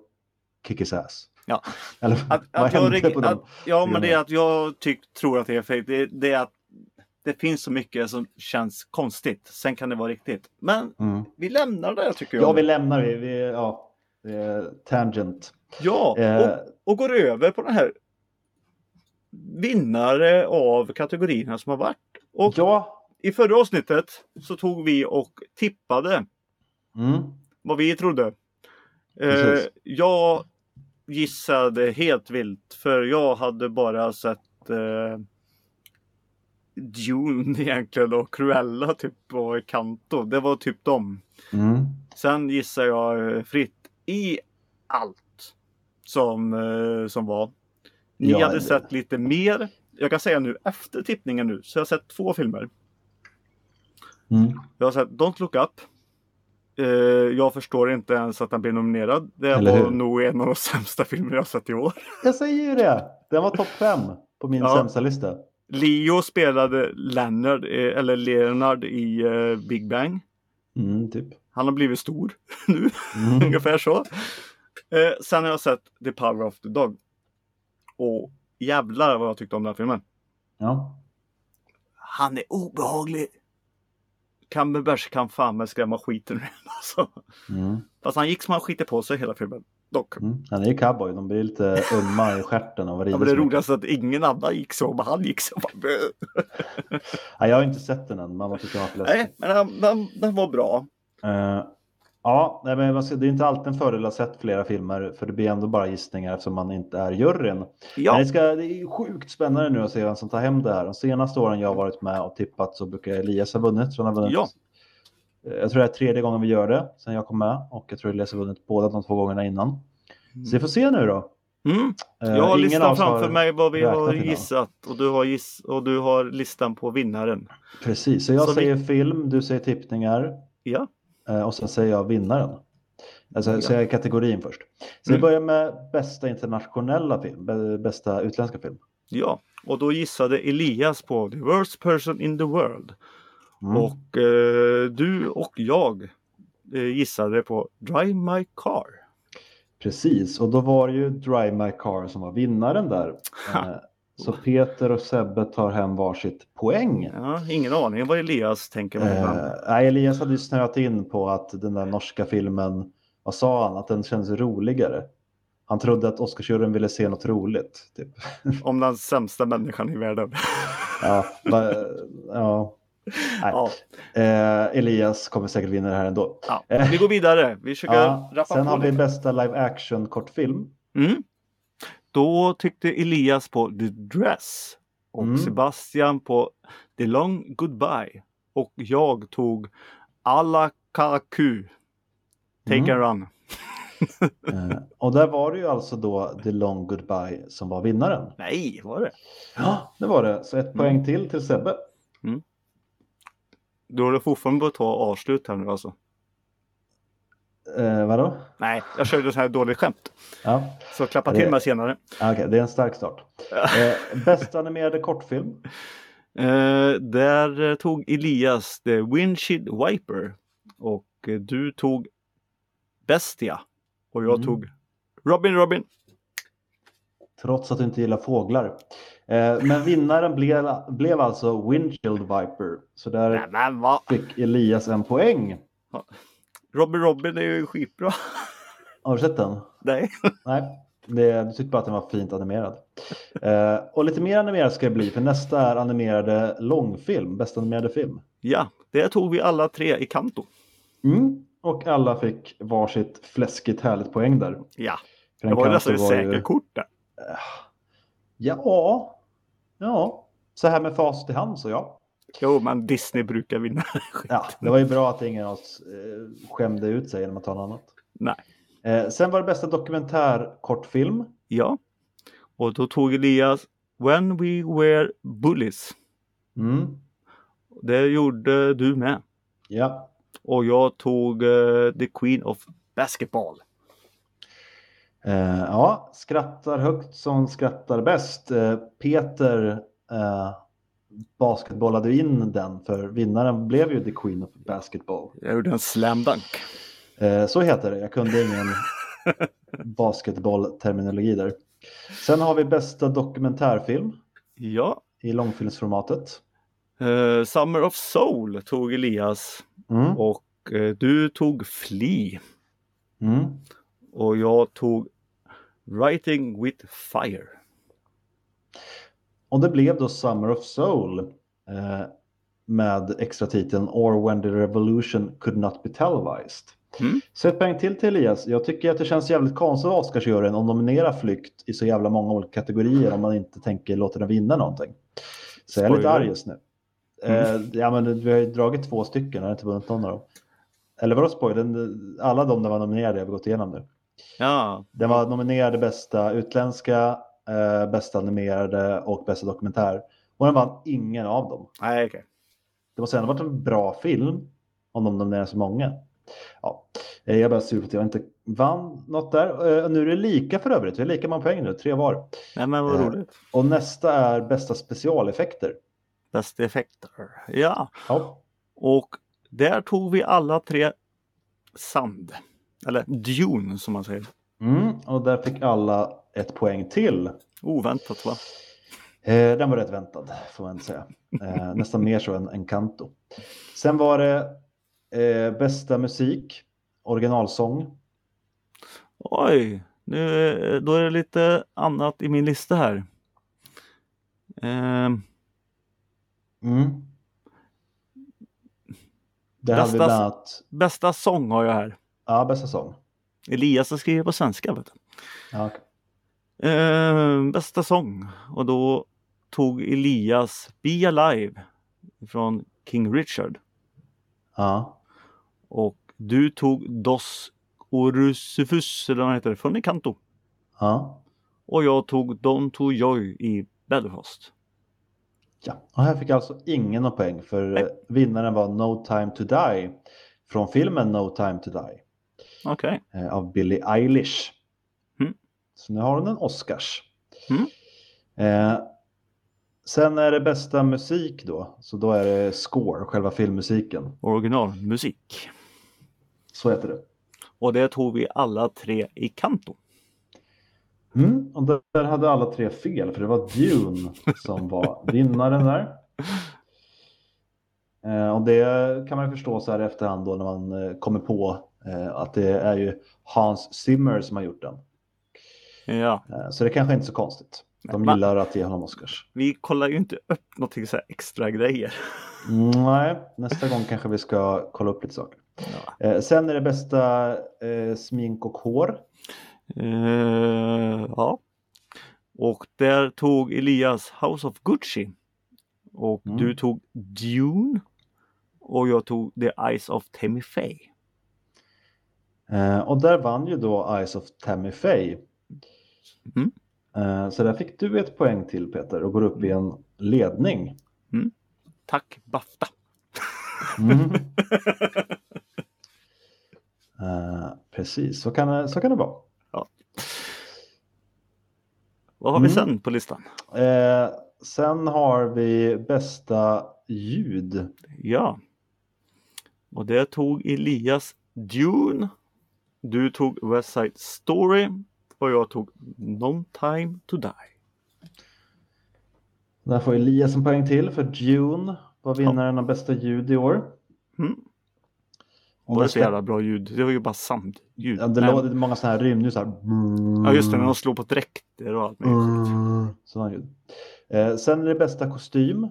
[SPEAKER 1] kick his ass.
[SPEAKER 2] Ja.
[SPEAKER 1] Eller
[SPEAKER 2] att,
[SPEAKER 1] vad
[SPEAKER 2] att jag,
[SPEAKER 1] hände
[SPEAKER 2] reg-
[SPEAKER 1] på
[SPEAKER 2] att,
[SPEAKER 1] dem?
[SPEAKER 2] ja men det
[SPEAKER 1] filmerna?
[SPEAKER 2] är att jag tyck, tror att det är fejk. Det, det är att det finns så mycket som känns konstigt. Sen kan det vara riktigt. Men
[SPEAKER 1] Mm.
[SPEAKER 2] vi lämnar det tycker jag.
[SPEAKER 1] Ja, vi lämnar vi. vi ja, det är tangent.
[SPEAKER 2] Ja, och,
[SPEAKER 1] Eh,
[SPEAKER 2] och går över på den här vinnare av kategorierna som har varit. Och
[SPEAKER 1] ja,
[SPEAKER 2] i förra avsnittet så tog vi och tippade
[SPEAKER 1] mm.
[SPEAKER 2] vad vi trodde. Eh,
[SPEAKER 1] Precis.
[SPEAKER 2] jag gissade helt vilt för jag hade bara sett eh, Dune egentligen och Cruella typ och Kanto. Det var typ dem.
[SPEAKER 1] Mm.
[SPEAKER 2] Sen gissar jag eh, fritt i allt som, eh, som var. Ni
[SPEAKER 1] Ja,
[SPEAKER 2] hade
[SPEAKER 1] det-
[SPEAKER 2] sett lite mer. Jag kan säga nu efter tippningen nu så jag har sett två filmer.
[SPEAKER 1] Mm.
[SPEAKER 2] Jag har sett Don't Look Up. Eh, jag förstår inte ens att den blev nominerad. Det
[SPEAKER 1] Eller
[SPEAKER 2] var
[SPEAKER 1] hur?
[SPEAKER 2] nog en av de sämsta filmer jag har sett i år.
[SPEAKER 1] Jag säger ju det. Den var topp fem på min
[SPEAKER 2] Ja.
[SPEAKER 1] sämsta lista.
[SPEAKER 2] Leo spelade Leonard, eh, eller Leonard i eh, Big Bang.
[SPEAKER 1] Mm, typ.
[SPEAKER 2] Han har blivit stor nu,
[SPEAKER 1] Mm.
[SPEAKER 2] ungefär så. Eh, sen har jag sett The Power of the Dog. Och jävlar vad jag tyckte om den filmen.
[SPEAKER 1] Ja.
[SPEAKER 2] Han är obehaglig. Cumberbatch kan fan med skrämma skiten ur en, alltså.
[SPEAKER 1] Mm.
[SPEAKER 2] Fast han gick som han skiter på sig hela filmen. Dock.
[SPEAKER 1] Mm. Han är ju cowboy, de blir lite ömma i stjärten av att
[SPEAKER 2] Ja,
[SPEAKER 1] rida
[SPEAKER 2] men det
[SPEAKER 1] så mycket.
[SPEAKER 2] roligaste är att ingen annan gick så, men han gick så. Bara, "Bö."
[SPEAKER 1] Nej, jag har inte sett den än, mamma tyckte den var för läskig.
[SPEAKER 2] Nej, men han, den, den var bra.
[SPEAKER 1] Eh, ja, nej, men man ska- det är inte alltid en fördel att ha sett flera filmer för det blir ändå bara gissningar eftersom man inte är juryn. Men
[SPEAKER 2] Ja,
[SPEAKER 1] det, ska, det är sjukt spännande nu att se vem som tar hem det här. De senaste åren jag har varit med och tippat så brukar Elias ha vunnit. Så han har vunnit.
[SPEAKER 2] Ja.
[SPEAKER 1] Eh, Jag tror det är tredje gången vi gör det sen jag kom med och jag tror Elias har vunnit båda de två gångerna innan. Så vi får se nu då.
[SPEAKER 2] mm.
[SPEAKER 1] Eh,
[SPEAKER 2] jag har
[SPEAKER 1] ingen av
[SPEAKER 2] listan
[SPEAKER 1] oss har-
[SPEAKER 2] framför mig vad vi har
[SPEAKER 1] räknat innan.
[SPEAKER 2] gissat och du har, giss, och du har listan på vinnaren.
[SPEAKER 1] Precis, så jag
[SPEAKER 2] Så vi-
[SPEAKER 1] säger film, du säger tippningar.
[SPEAKER 2] Ja.
[SPEAKER 1] Eh, Och sen säger jag vinnaren. Alltså,
[SPEAKER 2] Ja.
[SPEAKER 1] Så jag kategorin först. Så vi
[SPEAKER 2] Mm.
[SPEAKER 1] börjar med bästa internationella film, bä- bästa utländska film.
[SPEAKER 2] Ja, och då gissade Elias på The Worst Person in the World.
[SPEAKER 1] Mm.
[SPEAKER 2] Och eh, du och jag eh, gissade på Drive My Car.
[SPEAKER 1] Precis, och då var det ju Drive My Car som var vinnaren där.
[SPEAKER 2] Ha.
[SPEAKER 1] Eh, Så Peter och Sebbe tar hem varsitt poäng.
[SPEAKER 2] Ja, ingen aning vad Elias tänker på.
[SPEAKER 1] Eh, nej, Elias hade ju snöat in på att den där norska filmen, vad sa han, att den kändes roligare. Han trodde att Oscarsjuryn ville se något roligt. Typ.
[SPEAKER 2] Om den sämsta människan i världen.
[SPEAKER 1] Ja, va, ja. Nej.
[SPEAKER 2] ja,
[SPEAKER 1] Eh, Elias kommer säkert vinna det här ändå.
[SPEAKER 2] ja.
[SPEAKER 1] Eh,
[SPEAKER 2] Vi går vidare. Vi försöker
[SPEAKER 1] ja,
[SPEAKER 2] rappa
[SPEAKER 1] sen
[SPEAKER 2] på
[SPEAKER 1] har vi
[SPEAKER 2] lite.
[SPEAKER 1] bästa live action kortfilm.
[SPEAKER 2] Mm. Då tyckte Elias på The Dress och
[SPEAKER 1] Mm.
[SPEAKER 2] Sebastian på The Long Goodbye. Och jag tog Alla Kaku.
[SPEAKER 1] Mm.
[SPEAKER 2] Take a run.
[SPEAKER 1] Eh, och där var det ju alltså då The Long Goodbye som var vinnaren.
[SPEAKER 2] Nej, var det?
[SPEAKER 1] Ja, det var det. Så ett poäng
[SPEAKER 2] Mm.
[SPEAKER 1] till till Sebbe.
[SPEAKER 2] Du håller fortfarande på att ta avslut här nu alltså.
[SPEAKER 1] Eh, vadå?
[SPEAKER 2] Nej, jag körde så här dåligt skämt.
[SPEAKER 1] Ja,
[SPEAKER 2] Så klappa
[SPEAKER 1] Det-
[SPEAKER 2] till mig senare.
[SPEAKER 1] ah, okej, det är en stark start. Eh, bästa animerade kortfilm.
[SPEAKER 2] Eh, där eh, tog Elias The Windshield Wiper. Och eh, du tog Bestia. Och jag
[SPEAKER 1] Mm.
[SPEAKER 2] tog Robin Robin.
[SPEAKER 1] Trots att du inte gillar fåglar. Eh, men vinnaren blev, blev alltså Windshield Viper. Så
[SPEAKER 2] Nej
[SPEAKER 1] där
[SPEAKER 2] men vad?
[SPEAKER 1] fick Elias en poäng.
[SPEAKER 2] Robin Robin är ju skitbra.
[SPEAKER 1] Har du sett den?
[SPEAKER 2] Nej.
[SPEAKER 1] Nej, det, du tyckte bara att den var fint animerad. Eh, och lite mer animerad ska det bli, för nästa är animerade långfilm, bästa animerade film.
[SPEAKER 2] Ja, det tog vi alla tre i kanto.
[SPEAKER 1] Mm. Och alla fick varsitt fläskigt härligt poäng där.
[SPEAKER 2] Ja,
[SPEAKER 1] För
[SPEAKER 2] det
[SPEAKER 1] den
[SPEAKER 2] var
[SPEAKER 1] kanto
[SPEAKER 2] nästan ett
[SPEAKER 1] ju-
[SPEAKER 2] säkert kort där.
[SPEAKER 1] Ja, ja. Så här med facit i hand så ja.
[SPEAKER 2] Jo, men Disney brukar vinna.
[SPEAKER 1] ja. Det var ju bra att ingen av oss eh, skämde ut sig genom att ta något annat.
[SPEAKER 2] Nej.
[SPEAKER 1] Eh, sen var det bästa dokumentärkortfilm.
[SPEAKER 2] Ja, och då tog Elias When We Were Bullies.
[SPEAKER 1] Mm.
[SPEAKER 2] Det gjorde du med.
[SPEAKER 1] Ja.
[SPEAKER 2] Och jag tog eh, The Queen of Basketball.
[SPEAKER 1] Eh, ja, skrattar högt som skrattar bäst. Eh, Peter eh, basketbollade ju in den för vinnaren blev ju The Queen of Basketball.
[SPEAKER 2] Jag gjorde en slam dunk.
[SPEAKER 1] Eh, så heter det. Jag kunde ingen basketbollterminologi där. Sen har vi bästa dokumentärfilm
[SPEAKER 2] Ja,
[SPEAKER 1] i långfilmsformatet.
[SPEAKER 2] eh, Summer of Soul tog Elias
[SPEAKER 1] Mm.
[SPEAKER 2] och eh, du tog Flea
[SPEAKER 1] Mm.
[SPEAKER 2] och jag tog Writing with Fire.
[SPEAKER 1] Och det blev då Summer of Soul eh, med extra titeln Or when the revolution could not be televised.
[SPEAKER 2] Mm.
[SPEAKER 1] Så ett poäng till till Elias. Jag tycker att det känns jävligt konstigt av Oscarsjuryn att nominera flykt i så jävla många olika kategorier om man inte tänker låta den vinna någonting. Så jag är lite
[SPEAKER 2] Spoiler. Mm.
[SPEAKER 1] arg just nu. Eh, ja, men vi har ju dragit två stycken, jag har inte vunnit någon av dem. Eller vadå spoilern? Alla de där var nominerade har vi gått igenom nu.
[SPEAKER 2] Ja,
[SPEAKER 1] Den var nominerad i bästa utländska, eh, bästa animerade och bästa dokumentär. Och den vann ingen av dem.
[SPEAKER 2] nej okej.
[SPEAKER 1] Det måste ändå varit en bra film om de nominerar så många. Ja, eh, jag är bara sur på att jag inte vann något där. Eh, Nu är det lika för övrigt. Vi är lika många poäng nu, tre var.
[SPEAKER 2] Nej men vad
[SPEAKER 1] Eh.
[SPEAKER 2] roligt.
[SPEAKER 1] Och nästa är bästa specialeffekter.
[SPEAKER 2] Bäst effekter. Ja,
[SPEAKER 1] Ja,
[SPEAKER 2] och där tog vi alla tre sand. Eller dune som man säger.
[SPEAKER 1] mm. och där fick alla ett poäng till.
[SPEAKER 2] Oväntat va?
[SPEAKER 1] Eh, den var rätt väntad, får man säga. Eh, nästan mer så än, än Kanto. Sen var det eh, bästa musik, originalsång.
[SPEAKER 2] Oj, nu, eh, då är det lite annat i min lista här. Ehm,
[SPEAKER 1] Mm. Det hade vi
[SPEAKER 2] Bästa-
[SPEAKER 1] bland annat,
[SPEAKER 2] bästa sång har jag här.
[SPEAKER 1] ja, bästa sång.
[SPEAKER 2] Elias har skrivit på svenska. Vet du.
[SPEAKER 1] Ja,
[SPEAKER 2] Ehm, bästa sång. Och då tog Elias Be Alive från King Richard.
[SPEAKER 1] ja.
[SPEAKER 2] Och du tog Dos Orusifus, eller vad heter det, från Encanto.
[SPEAKER 1] ja.
[SPEAKER 2] Och jag tog Don To Joy i Belfast.
[SPEAKER 1] Ja, och här fick jag alltså ingen någon poäng för
[SPEAKER 2] Nej.
[SPEAKER 1] eh, vinnaren var No time to die från filmen No time to die
[SPEAKER 2] Okej.
[SPEAKER 1] eh, av Billie Eilish.
[SPEAKER 2] Mm.
[SPEAKER 1] Så nu har hon en Oscars.
[SPEAKER 2] Mm.
[SPEAKER 1] Eh, sen är det bästa musik då, så då är det score, själva filmmusiken.
[SPEAKER 2] Originalmusik.
[SPEAKER 1] Så heter det.
[SPEAKER 2] Och det tog vi alla tre i Kanto.
[SPEAKER 1] Mm, och där där hade alla tre fel för det var Dune som var vinnaren där. Eh, och det kan man ju förstå så här i efterhand då när man eh, kommer på eh, att det är ju Hans Zimmer som har gjort den.
[SPEAKER 2] Ja,
[SPEAKER 1] Eh, så det kanske inte är så konstigt. De
[SPEAKER 2] Va?
[SPEAKER 1] gillar att ge honom Oscars.
[SPEAKER 2] vi kollar ju inte upp någonting så här extra grejer.
[SPEAKER 1] Mm, nej, nästa gång kanske vi ska kolla upp lite saker. Eh, sen är det bästa eh, smink och hår.
[SPEAKER 2] Eh, ja. Och där tog Elias House of Gucci. Och
[SPEAKER 1] Mm.
[SPEAKER 2] du tog Dune. Och jag tog The Eyes of Tammy Faye.
[SPEAKER 1] Eh, och där vann ju då Eyes of Tammy Faye.
[SPEAKER 2] Mm.
[SPEAKER 1] Eh, så där fick du ett poäng till Peter och går upp i en ledning.
[SPEAKER 2] Tack Bafta!
[SPEAKER 1] Mm. eh, precis, så kan, det- så kan det vara.
[SPEAKER 2] Vad har vi
[SPEAKER 1] Mm.
[SPEAKER 2] sen på listan?
[SPEAKER 1] Eh, sen har vi bästa ljud.
[SPEAKER 2] Ja. Och där tog Elias Dune. Du tog West Side Story. Och jag tog No Time To Die.
[SPEAKER 1] Där får Elias en poäng till för Dune var vinnaren av bästa ljud i år.
[SPEAKER 2] Mm.
[SPEAKER 1] Och
[SPEAKER 2] var det så
[SPEAKER 1] bästa-
[SPEAKER 2] jävla bra ljud? Det var ju bara sandljud.
[SPEAKER 1] Ja, det
[SPEAKER 2] Nej,
[SPEAKER 1] låter många sådana här rymdljud. Så här.
[SPEAKER 2] ja just
[SPEAKER 1] Mm.
[SPEAKER 2] det, när de slår på dräkter och allt möjligt.
[SPEAKER 1] Sådana ljud. Eh, sen är det bästa kostym.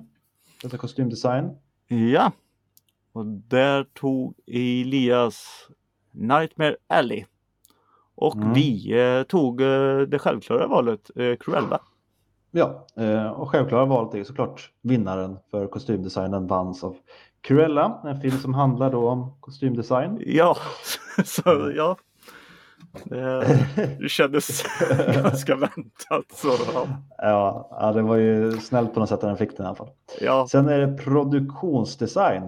[SPEAKER 1] Bästa kostymdesign.
[SPEAKER 2] Ja. Och där tog Elias Nightmare Alley. Och
[SPEAKER 1] Mm.
[SPEAKER 2] vi eh, tog eh, det självklara valet, eh, Cruella.
[SPEAKER 1] Ja, eh, och självklara valet är ju såklart vinnaren för kostymdesignen Vans av Cruella. En film som handlar då om kostymdesign.
[SPEAKER 2] Ja, så ja. Eh, Det kändes ganska väntat. Så, ja.
[SPEAKER 1] ja, ja, det var ju snällt på något sätt att den fick den i alla fall.
[SPEAKER 2] Ja.
[SPEAKER 1] Sen är det produktionsdesign.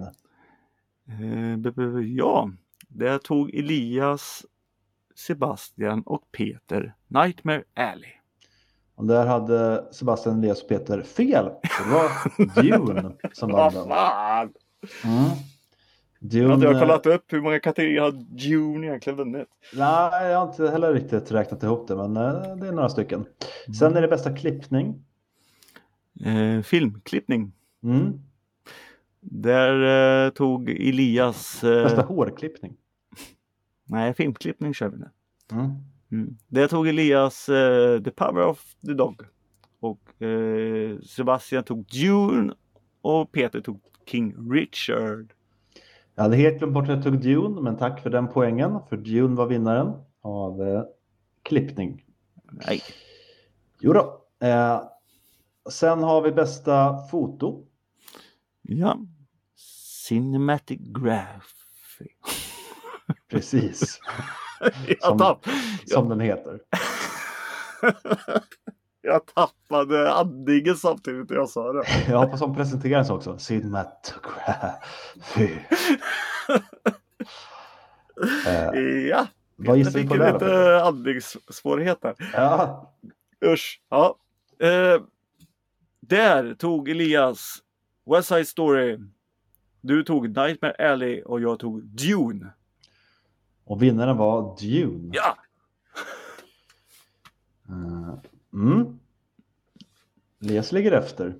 [SPEAKER 2] Eh, b- b- ja, där tog Elias, Sebastian och Peter Nightmare Alley.
[SPEAKER 1] Och där hade Sebastian Elias och Peter fel. Det var Dune som vann
[SPEAKER 2] Vad
[SPEAKER 1] den.
[SPEAKER 2] fan!
[SPEAKER 1] Mm.
[SPEAKER 2] Jag har inte
[SPEAKER 1] Dune-
[SPEAKER 2] jag kollat upp hur många kategorier har Dune egentligen vunnit.
[SPEAKER 1] Nej, jag har inte heller riktigt räknat ihop det, men eh, det är några stycken.
[SPEAKER 2] Mm.
[SPEAKER 1] Sen är det bästa klippning.
[SPEAKER 2] Eh, filmklippning.
[SPEAKER 1] Mm.
[SPEAKER 2] Där eh, tog Elias...
[SPEAKER 1] Bästa
[SPEAKER 2] Eh,
[SPEAKER 1] hårklippning.
[SPEAKER 2] nej, filmklippning kör vi nu.
[SPEAKER 1] Mm.
[SPEAKER 2] Mm. Där tog Elias eh, The Power of the Dog. Och eh, Sebastian tog Dune. Och Peter tog King Richard.
[SPEAKER 1] Jag hade helt glömt bort att jag tog Dune, men tack för den poängen. För Dune var vinnaren av eh, klippning.
[SPEAKER 2] Nej.
[SPEAKER 1] Jo då. Eh, sen har vi bästa foto.
[SPEAKER 2] Ja. Cinematic Graphic.
[SPEAKER 1] Precis,
[SPEAKER 2] Jag, tapp...
[SPEAKER 1] som den heter.
[SPEAKER 2] jag tappade andningen samtidigt när jag sa det.
[SPEAKER 1] Jag hoppas de presenterar sig också. Cinematography. Eh,
[SPEAKER 2] Ja,
[SPEAKER 1] vad
[SPEAKER 2] jag
[SPEAKER 1] gissar vi
[SPEAKER 2] fick
[SPEAKER 1] på där? då, Peter?
[SPEAKER 2] lite andningssvårigheter.
[SPEAKER 1] Ja,
[SPEAKER 2] Usch. Ja. Eh, där tog Elias West Side Story. Du tog Nightmare Alley och jag tog Dune.
[SPEAKER 1] Och vinnaren var Dune.
[SPEAKER 2] Ja!
[SPEAKER 1] Eh, Mm. Les ligger efter.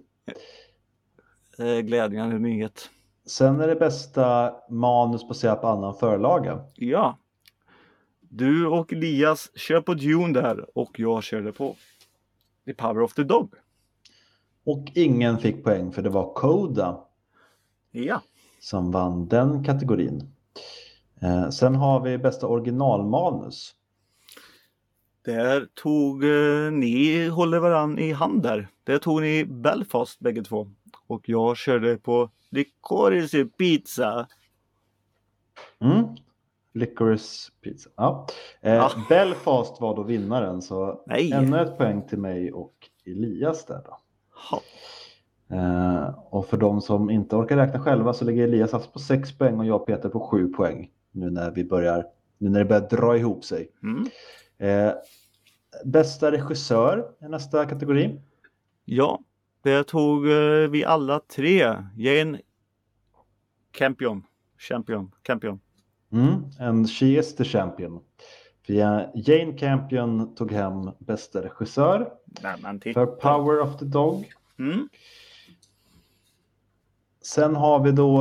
[SPEAKER 2] Eh, glädjande nyhet.
[SPEAKER 1] Sen är det bästa manus baserat på annan förlaga.
[SPEAKER 2] Ja. Du och Elias kör på Dune där och jag körde på The Power of the Dog.
[SPEAKER 1] Och ingen fick poäng för det var Koda
[SPEAKER 2] Ja.
[SPEAKER 1] som vann den kategorin. Eh, sen har vi bästa originalmanus.
[SPEAKER 2] Där tog eh, ni, håller varann i hand där. Där tog ni Belfast bägge två. Och jag körde på Licorice Pizza.
[SPEAKER 1] Mm. Licorice pizza. Ja. Eh,
[SPEAKER 2] Ja.
[SPEAKER 1] Belfast var då vinnaren så
[SPEAKER 2] Nej!
[SPEAKER 1] ännu ett poäng till mig och Elias där då.
[SPEAKER 2] Ha.
[SPEAKER 1] Eh, och för de som inte orkar räkna själva så ligger Elias alltså på 6 poäng och jag och Peter på 7 poäng. Nu när vi börjar, nu när det börjar dra ihop sig.
[SPEAKER 2] Mm.
[SPEAKER 1] Eh, bästa regissör är nästa kategori.
[SPEAKER 2] Ja, där tog eh, vi alla tre Jane Campion. Champion, Campion.
[SPEAKER 1] Mm. And she is the champion. För ja- Jane Campion tog hem bästa regissör
[SPEAKER 2] Nej men titta.
[SPEAKER 1] för Power of the Dog.
[SPEAKER 2] Mm.
[SPEAKER 1] Sen har vi då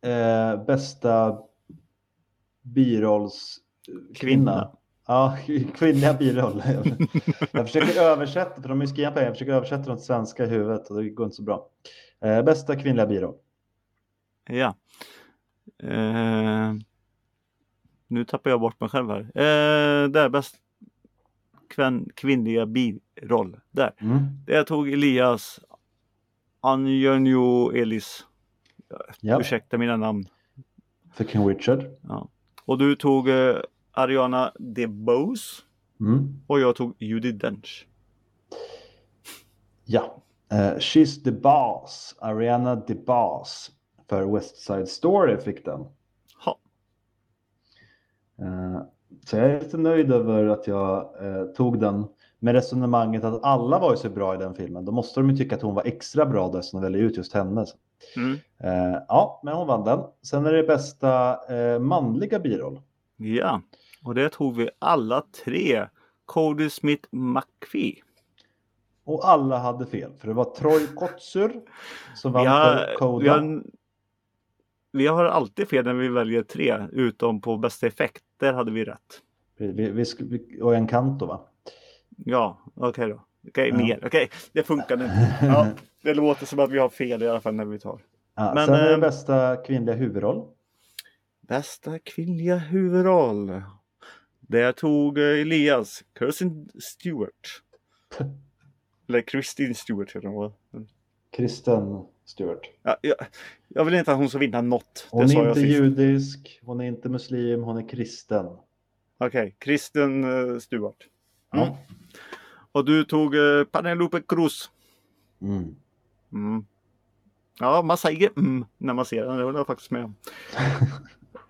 [SPEAKER 1] eh, bästa birollskvinna.
[SPEAKER 2] Kvinna.
[SPEAKER 1] Ja, kvinnliga biroll. jag försöker översätta, för de är ju skrivna på engelska. Jag försöker översätta dem till svenska i huvudet och det går inte så bra. Eh, bästa kvinnliga biroll.
[SPEAKER 2] Ja. Eh, nu tappar jag bort mig själv här. Eh, där bäst kvän, kvinnliga biroll. Där.
[SPEAKER 1] Mm.
[SPEAKER 2] Där tog Elias Anjonio Elis.
[SPEAKER 1] Ja,
[SPEAKER 2] Ursäkta mina namn.
[SPEAKER 1] för King Richard.
[SPEAKER 2] Och du tog eh, Ariana DeBose
[SPEAKER 1] Mm.
[SPEAKER 2] och jag tog Judi Dench.
[SPEAKER 1] Ja. Eh, She's the boss, Ariana the boss. För West Side Story fick den.
[SPEAKER 2] Ha.
[SPEAKER 1] Eh, Så jag är lite nöjd över att jag eh, tog den med resonemanget att alla var ju så bra i den filmen. Då måste de ju tycka att hon var extra bra då eftersom de väljer ut just henne.
[SPEAKER 2] Mm.
[SPEAKER 1] Eh, ja, men hon vann den. Sen är det bästa eh, manliga biroll.
[SPEAKER 2] Ja, och det tog vi alla tre. Cody Smith McPhee.
[SPEAKER 1] Och alla hade fel, för det var Troy Kotsur som vann
[SPEAKER 2] Vi
[SPEAKER 1] för
[SPEAKER 2] har,
[SPEAKER 1] Coda.
[SPEAKER 2] vi, har, vi har alltid fel när vi väljer tre, utom på bästa effekt. Där hade vi rätt.
[SPEAKER 1] Vi, vi, vi, sk- vi, och en kanto va?
[SPEAKER 2] Ja, okej då. Okej,
[SPEAKER 1] Ja.
[SPEAKER 2] mer. Okej, det funkar nu. Ja, det låter som att vi har fel i alla fall när vi tar.
[SPEAKER 1] Ja,
[SPEAKER 2] Men,
[SPEAKER 1] sen är det
[SPEAKER 2] eh,
[SPEAKER 1] bästa kvinnliga huvudroll.
[SPEAKER 2] Bästa kvinnliga huvudroll. Där tog eh, Elias Kirsten Stewart. Eller Kristin Stewart heter hon va?
[SPEAKER 1] Kristen Stewart.
[SPEAKER 2] Ja, jag, jag vill inte att hon ska vinna något.
[SPEAKER 1] Hon
[SPEAKER 2] det sa
[SPEAKER 1] är
[SPEAKER 2] jag
[SPEAKER 1] inte
[SPEAKER 2] sist.
[SPEAKER 1] judisk, hon är inte muslim, hon är kristen.
[SPEAKER 2] Okej, Kristen eh, Stewart.
[SPEAKER 1] Ja.
[SPEAKER 2] Mm. Och du tog eh, Penelope Cruz.
[SPEAKER 1] Mm.
[SPEAKER 2] Mm. Ja, man säger mm när man ser den. Det håller jag faktiskt med om.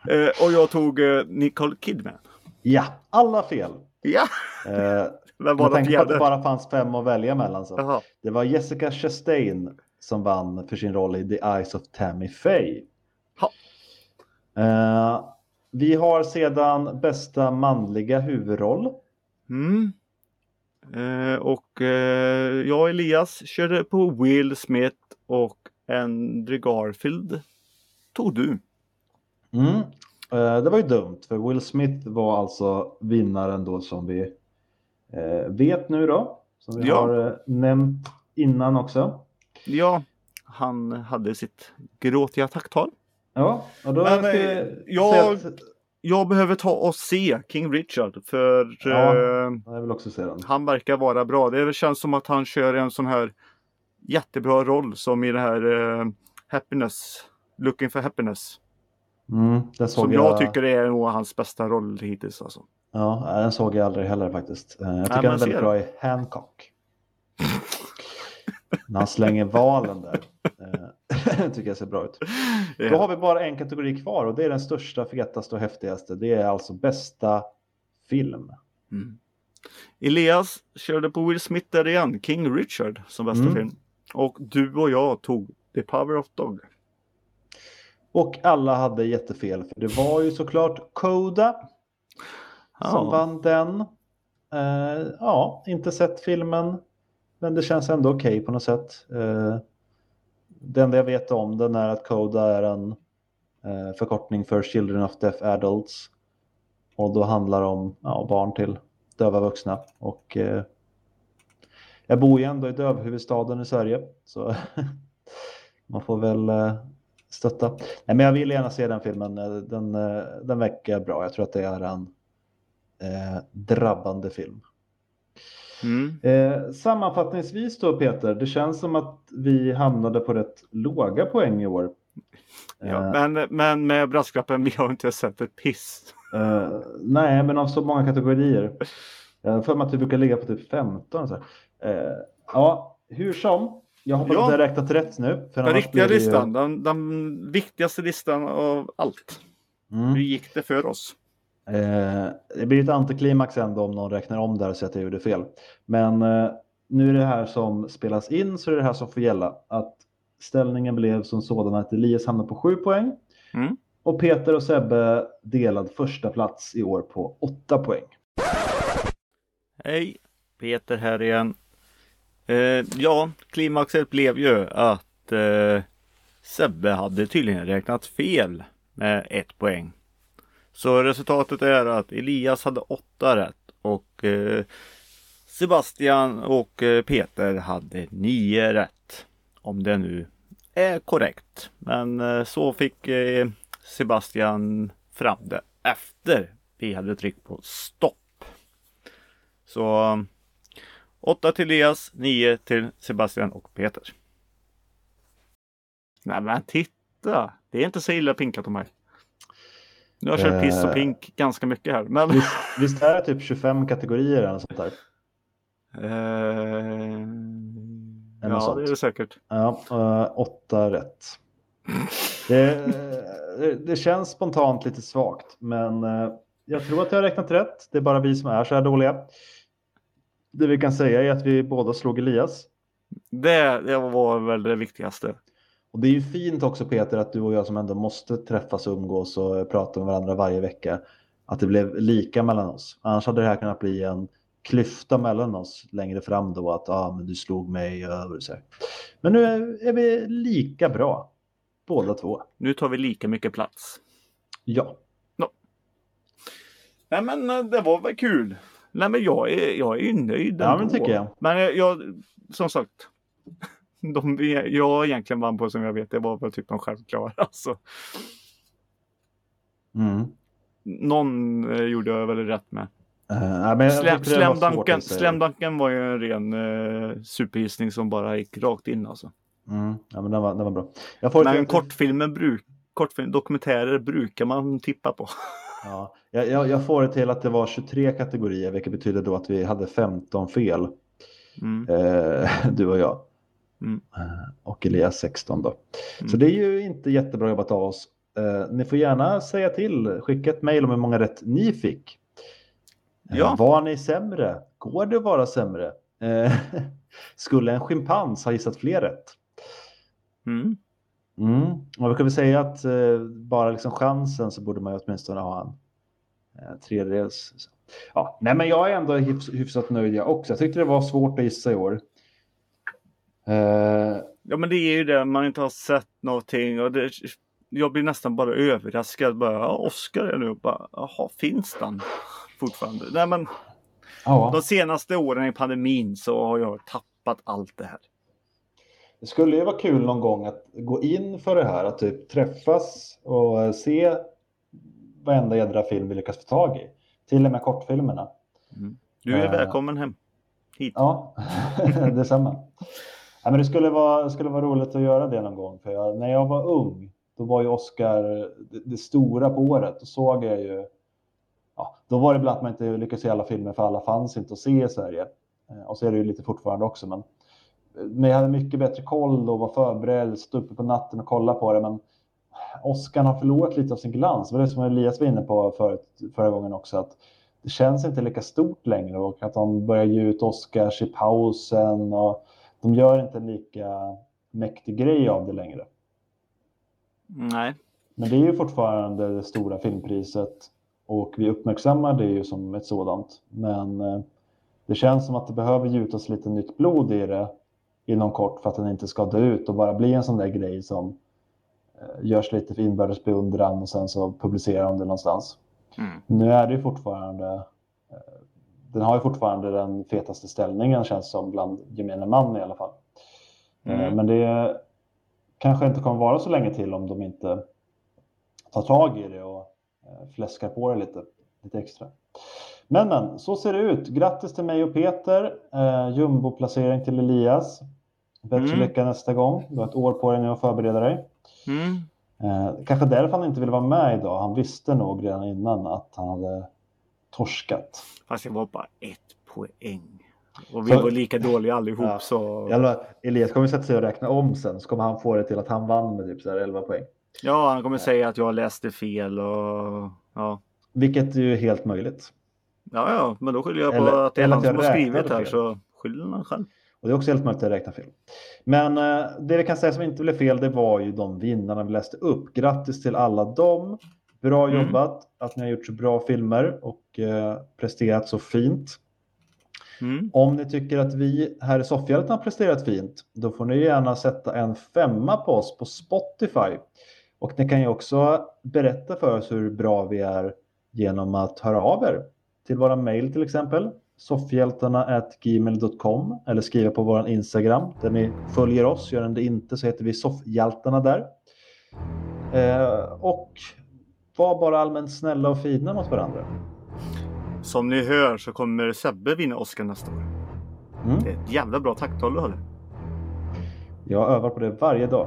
[SPEAKER 2] eh, och jag tog eh, Nicole Kidman.
[SPEAKER 1] Ja, alla fel.
[SPEAKER 2] Ja,
[SPEAKER 1] Eh,
[SPEAKER 2] vem var
[SPEAKER 1] med tanke
[SPEAKER 2] den
[SPEAKER 1] på att det
[SPEAKER 2] fjärde?
[SPEAKER 1] bara fanns fem att välja mellan. Så.
[SPEAKER 2] Jaha.
[SPEAKER 1] Det var Jessica Chastain som vann för sin roll i The Eyes of Tammy Faye.
[SPEAKER 2] Ja.
[SPEAKER 1] Eh, vi har sedan bästa manliga huvudroll.
[SPEAKER 2] Mm. Eh, och eh, jag och Elias körde på Will Smith och Andrew Garfield. Tog du.
[SPEAKER 1] Mm. Eh, det var ju dumt, för Will Smith var alltså vinnaren då som vi eh, vet nu då. Som vi
[SPEAKER 2] Ja.
[SPEAKER 1] har eh, nämnt innan också.
[SPEAKER 2] Ja, han hade sitt gråtiga tacktal.
[SPEAKER 1] Ja, och då
[SPEAKER 2] Men,
[SPEAKER 1] ska
[SPEAKER 2] eh,
[SPEAKER 1] vi
[SPEAKER 2] jag-
[SPEAKER 1] se att-
[SPEAKER 2] Jag behöver ta och se King Richard för
[SPEAKER 1] Ja.
[SPEAKER 2] eh,
[SPEAKER 1] Jag vill också se den.
[SPEAKER 2] han verkar vara bra. Det känns som att han kör en sån här jättebra roll som i det här eh, Happiness, Looking for Happiness.
[SPEAKER 1] Mm, den såg
[SPEAKER 2] som jag tycker är nog hans bästa roll hittills alltså.
[SPEAKER 1] Ja, nej, den såg jag aldrig heller faktiskt. Eh, Jag tycker
[SPEAKER 2] men
[SPEAKER 1] den är väldigt
[SPEAKER 2] ser.
[SPEAKER 1] bra i Hancock. När han slänger valen där. Eh, tycker jag ser bra ut. Då har vi bara en kategori kvar och det är den största, fetaste och häftigaste. Det är alltså bästa film.
[SPEAKER 2] Mm. Elias körde på Will Smith där igen, King Richard som bästa
[SPEAKER 1] Mm.
[SPEAKER 2] film. Och du och jag tog The Power of Dog.
[SPEAKER 1] Och alla hade jättefel, för det var ju såklart Koda som
[SPEAKER 2] Ja.
[SPEAKER 1] vann den. Eh, ja, inte sett filmen. Men det känns ändå okej på något sätt. Eh, det enda jag vet om den är att Coda är en eh, förkortning för Children of Deaf Adults. Och då handlar det om ja, barn till döva vuxna. Och eh, jag bor ju ändå i dövhuvudstaden i Sverige. Så man får väl eh, stötta. Nej, men jag vill gärna se den filmen. Eh, Den, eh, den verkar bra. Jag tror att det är en eh, drabbande film.
[SPEAKER 3] Mm.
[SPEAKER 1] Eh, sammanfattningsvis då Peter, det känns som att vi hamnade på rätt låga poäng i år.
[SPEAKER 2] Ja, men, men med brasklappen, vi har inte sett ett piss.
[SPEAKER 1] Eh, nej, men av så många kategorier. Jag har för mig att vi brukar ligga på typ 15. Så här. Eh, ja, hur som. Jag hoppas
[SPEAKER 2] Ja.
[SPEAKER 1] att jag har räknat rätt nu. För
[SPEAKER 2] Den
[SPEAKER 1] annars
[SPEAKER 2] riktiga
[SPEAKER 1] blir det ju-
[SPEAKER 2] listan, den, den viktigaste listan av allt.
[SPEAKER 1] Mm.
[SPEAKER 2] Hur gick det för oss?
[SPEAKER 1] Eh, det blir ju ett antiklimax ändå om någon räknar om där så att jag gjorde fel. Men eh, nu är det här som spelas in så är det här som får gälla. Att ställningen blev som sådan att Elias hamnade på 7 poäng.
[SPEAKER 2] Mm.
[SPEAKER 1] Och Peter och Sebbe delad första plats i år på 8 poäng.
[SPEAKER 2] Hej! Peter här igen. Eh, ja, klimaxet blev ju att eh, Sebbe hade tydligen räknat fel med ett poäng. Så resultatet är att Elias hade åtta rätt och eh, Sebastian och eh, Peter hade nio rätt. Om det nu är korrekt. Men eh, så fick eh, Sebastian fram det efter vi hade tryckt på stopp. Så 8 till Elias, 9 till Sebastian och Peter. Nej men titta! Det är inte så illa pinkat om mig. Nu har jag kört piss och
[SPEAKER 1] Eh.
[SPEAKER 2] pink ganska mycket här. Men...
[SPEAKER 1] Visst, visst är det typ 25 kategorier eller något sånt där?
[SPEAKER 2] Eh,
[SPEAKER 1] Eller något
[SPEAKER 2] ja, det är det
[SPEAKER 1] sånt.
[SPEAKER 2] säkert.
[SPEAKER 1] Ja, eh, åtta rätt. Det, det- det känns spontant lite svagt, men eh, jag tror att jag har räknat rätt. Det är bara vi som är så här dåliga. Det vi kan säga är att vi båda slog Elias.
[SPEAKER 2] Det, det var väl det viktigaste.
[SPEAKER 1] Och det är ju fint också Peter att du och jag som ändå måste träffas och umgås och prata med varandra varje vecka. Att det blev lika mellan oss. Annars hade det här kunnat bli en klyfta mellan oss längre fram då att ah, men du slog mig över. Så här. Men nu är, är vi lika bra. Båda två.
[SPEAKER 2] Nu tar vi lika mycket plats.
[SPEAKER 1] Ja.
[SPEAKER 2] Nej men eh, det var väl kul. Nej men jag är, jag är ju nöjd
[SPEAKER 1] Ja, men
[SPEAKER 2] ändå.
[SPEAKER 1] tycker jag.
[SPEAKER 2] Men eh, jag, som sagt. De vi- jag egentligen vann på som jag vet, det var väl typ de självklara. Alltså,
[SPEAKER 1] Mm.
[SPEAKER 2] någon eh, gjorde jag väl rätt med.
[SPEAKER 1] Eh, nej, men jag
[SPEAKER 2] Slä-
[SPEAKER 1] tyckte det var svårt
[SPEAKER 2] Slamdunken
[SPEAKER 1] att säga.
[SPEAKER 2] slam var ju en ren eh, supergissning som bara gick rakt in alltså.
[SPEAKER 1] Mm. Ja, men den var, den var bra. Jag får
[SPEAKER 2] Men
[SPEAKER 1] jag-
[SPEAKER 2] kortfilmer bruk, kortfilm, dokumentärer brukar man tippa på.
[SPEAKER 1] Ja, jag, jag, jag får det till att det var 23 kategorier, vilket betyder då att vi hade 15 fel.
[SPEAKER 2] Mm.
[SPEAKER 1] Eh, du och jag.
[SPEAKER 2] Mm.
[SPEAKER 1] Eh, Och Elias 16 då. Så
[SPEAKER 2] Mm.
[SPEAKER 1] det är ju inte jättebra jobbat av oss. Eh, ni får gärna säga till, skicka ett mejl om hur många rätt ni fick. Eh,
[SPEAKER 2] Ja.
[SPEAKER 1] Var ni sämre? Går det att vara sämre? Eh, skulle en schimpans ha gissat fler rätt?
[SPEAKER 2] Mm.
[SPEAKER 1] Mm. Och vi kan väl säga att eh, bara liksom chansen så borde man ju åtminstone ha en eh, tredjedels. så. Ja, nej, men jag är ändå hyfs, hyfsat nöjd jag också. Jag tyckte det var svårt att gissa i år. Eh,
[SPEAKER 2] Ja men det är ju det, man inte har sett någonting och det, jag blir nästan bara överraskad. Bara, ja, Oscar är nu bara, jaha, finns den fortfarande? Nej men de
[SPEAKER 1] ja,
[SPEAKER 2] senaste åren i pandemin så har jag tappat allt det här.
[SPEAKER 1] det skulle ju vara kul någon gång att gå in för det här, att typ träffas och eh, se varenda jädra film vi lyckas få tag i. Till och med kortfilmerna.
[SPEAKER 2] Du är
[SPEAKER 1] Eh.
[SPEAKER 2] välkommen hem. Hit.
[SPEAKER 1] Ja, detsamma. Ja, men det skulle vara, skulle vara roligt att göra det någon gång. För jag, när jag var ung, då var ju Oscar det, det stora på året. Då såg jag ju... Ja, då var det ibland att man inte lyckades se alla filmer, för alla fanns inte att se i Sverige. Eh, Och så är det ju lite fortfarande också. Men, men jag hade mycket bättre koll och var förberedd, stod uppe på natten och kollade på det. Men Oscar har förlorat lite av sin glans. Det var det som Elias var inne på förut, förra gången också. Att det känns inte lika stort längre och att de börjar ge ut Oscars i pausen och de gör inte en lika mäktig grej av det längre.
[SPEAKER 2] Nej.
[SPEAKER 1] Men det är ju fortfarande det stora filmpriset och vi uppmärksammar det ju som ett sådant. Men eh, Det känns som att det behöver gjutas lite nytt blod i det inom kort för att den inte ska dö ut och bara bli en sån där grej som eh, görs lite för inbördes beundran och sen så publicerar de det någonstans.
[SPEAKER 2] Mm.
[SPEAKER 1] Nu är det ju fortfarande, eh, den har ju fortfarande den fetaste ställningen känns som bland gemene man i alla fall. Eh,
[SPEAKER 3] Mm.
[SPEAKER 1] Men det kanske inte kommer vara så länge till om de inte tar tag i det och eh, fläskar på det lite, lite extra. Men men, så ser det ut. Grattis till mig och Peter. Eh, Jumbo-placering till Elias. Bättre
[SPEAKER 2] Mm.
[SPEAKER 1] lycka nästa gång. Du har ett år på dig nu att förbereda dig.
[SPEAKER 2] Mm.
[SPEAKER 1] Eh, kanske därför han inte ville vara med idag. Han visste nog redan innan att han hade torskat.
[SPEAKER 2] Fast det var bara ett poäng. Och vi
[SPEAKER 1] Så-
[SPEAKER 2] var lika dåliga allihop
[SPEAKER 1] Ja.
[SPEAKER 2] så...
[SPEAKER 1] Jävla, Elias kommer sätta sig och räkna om sen, så kommer han få det till att han vann med typ så här 11 poäng.
[SPEAKER 2] Ja, han kommer säga att jag läste fel och... Ja,
[SPEAKER 1] Vilket är ju helt möjligt.
[SPEAKER 2] ja, ja men då skyller jag på
[SPEAKER 1] Eller-
[SPEAKER 2] att det är
[SPEAKER 1] eller
[SPEAKER 2] han
[SPEAKER 1] att jag
[SPEAKER 2] som har skrivit
[SPEAKER 1] räknade
[SPEAKER 2] här
[SPEAKER 1] fel.
[SPEAKER 2] så skyller han själv.
[SPEAKER 1] Och det är också helt möjligt att räkna fel. Men eh, det vi kan säga som inte blev fel, det var ju de vinnarna vi läste upp. Grattis till alla dem. Bra
[SPEAKER 2] Mm.
[SPEAKER 1] jobbat att ni har gjort så bra filmer och eh, presterat så fint.
[SPEAKER 2] Mm.
[SPEAKER 1] Om ni tycker att vi här i Soffhjälten har presterat fint, då får ni gärna sätta en femma på oss på Spotify. Och ni kan ju också berätta för oss hur bra vi är genom att höra av er till våra mejl till exempel, soffhjältarna.gmail.com eller skriva på vår Instagram där ni följer oss. Gör ni det inte så heter vi Soffhjältarna där. Eh, och var bara allmänt snälla och fina mot varandra.
[SPEAKER 2] Som ni hör så kommer Sebbe vinna Oscar nästa år.
[SPEAKER 1] Mm.
[SPEAKER 2] Det är ett jävla bra takttal du håller.
[SPEAKER 1] Jag övar på det varje dag.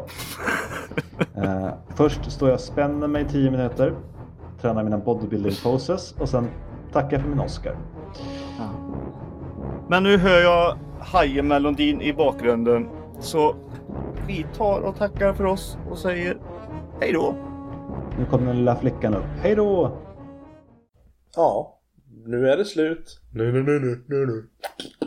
[SPEAKER 1] Eh, först står jag och spänner mig i 10 minuter, tränar mina bodybuilding poses och sen tackar för min Oscar.
[SPEAKER 2] Men nu hör jag hajemelodin i bakgrunden. Så vi tar och tackar för oss och säger hej då.
[SPEAKER 1] Nu kommer den lilla flickan upp. Hej då!
[SPEAKER 4] Ja, nu är det slut. Nu, nu, nu, nu, nu, nu.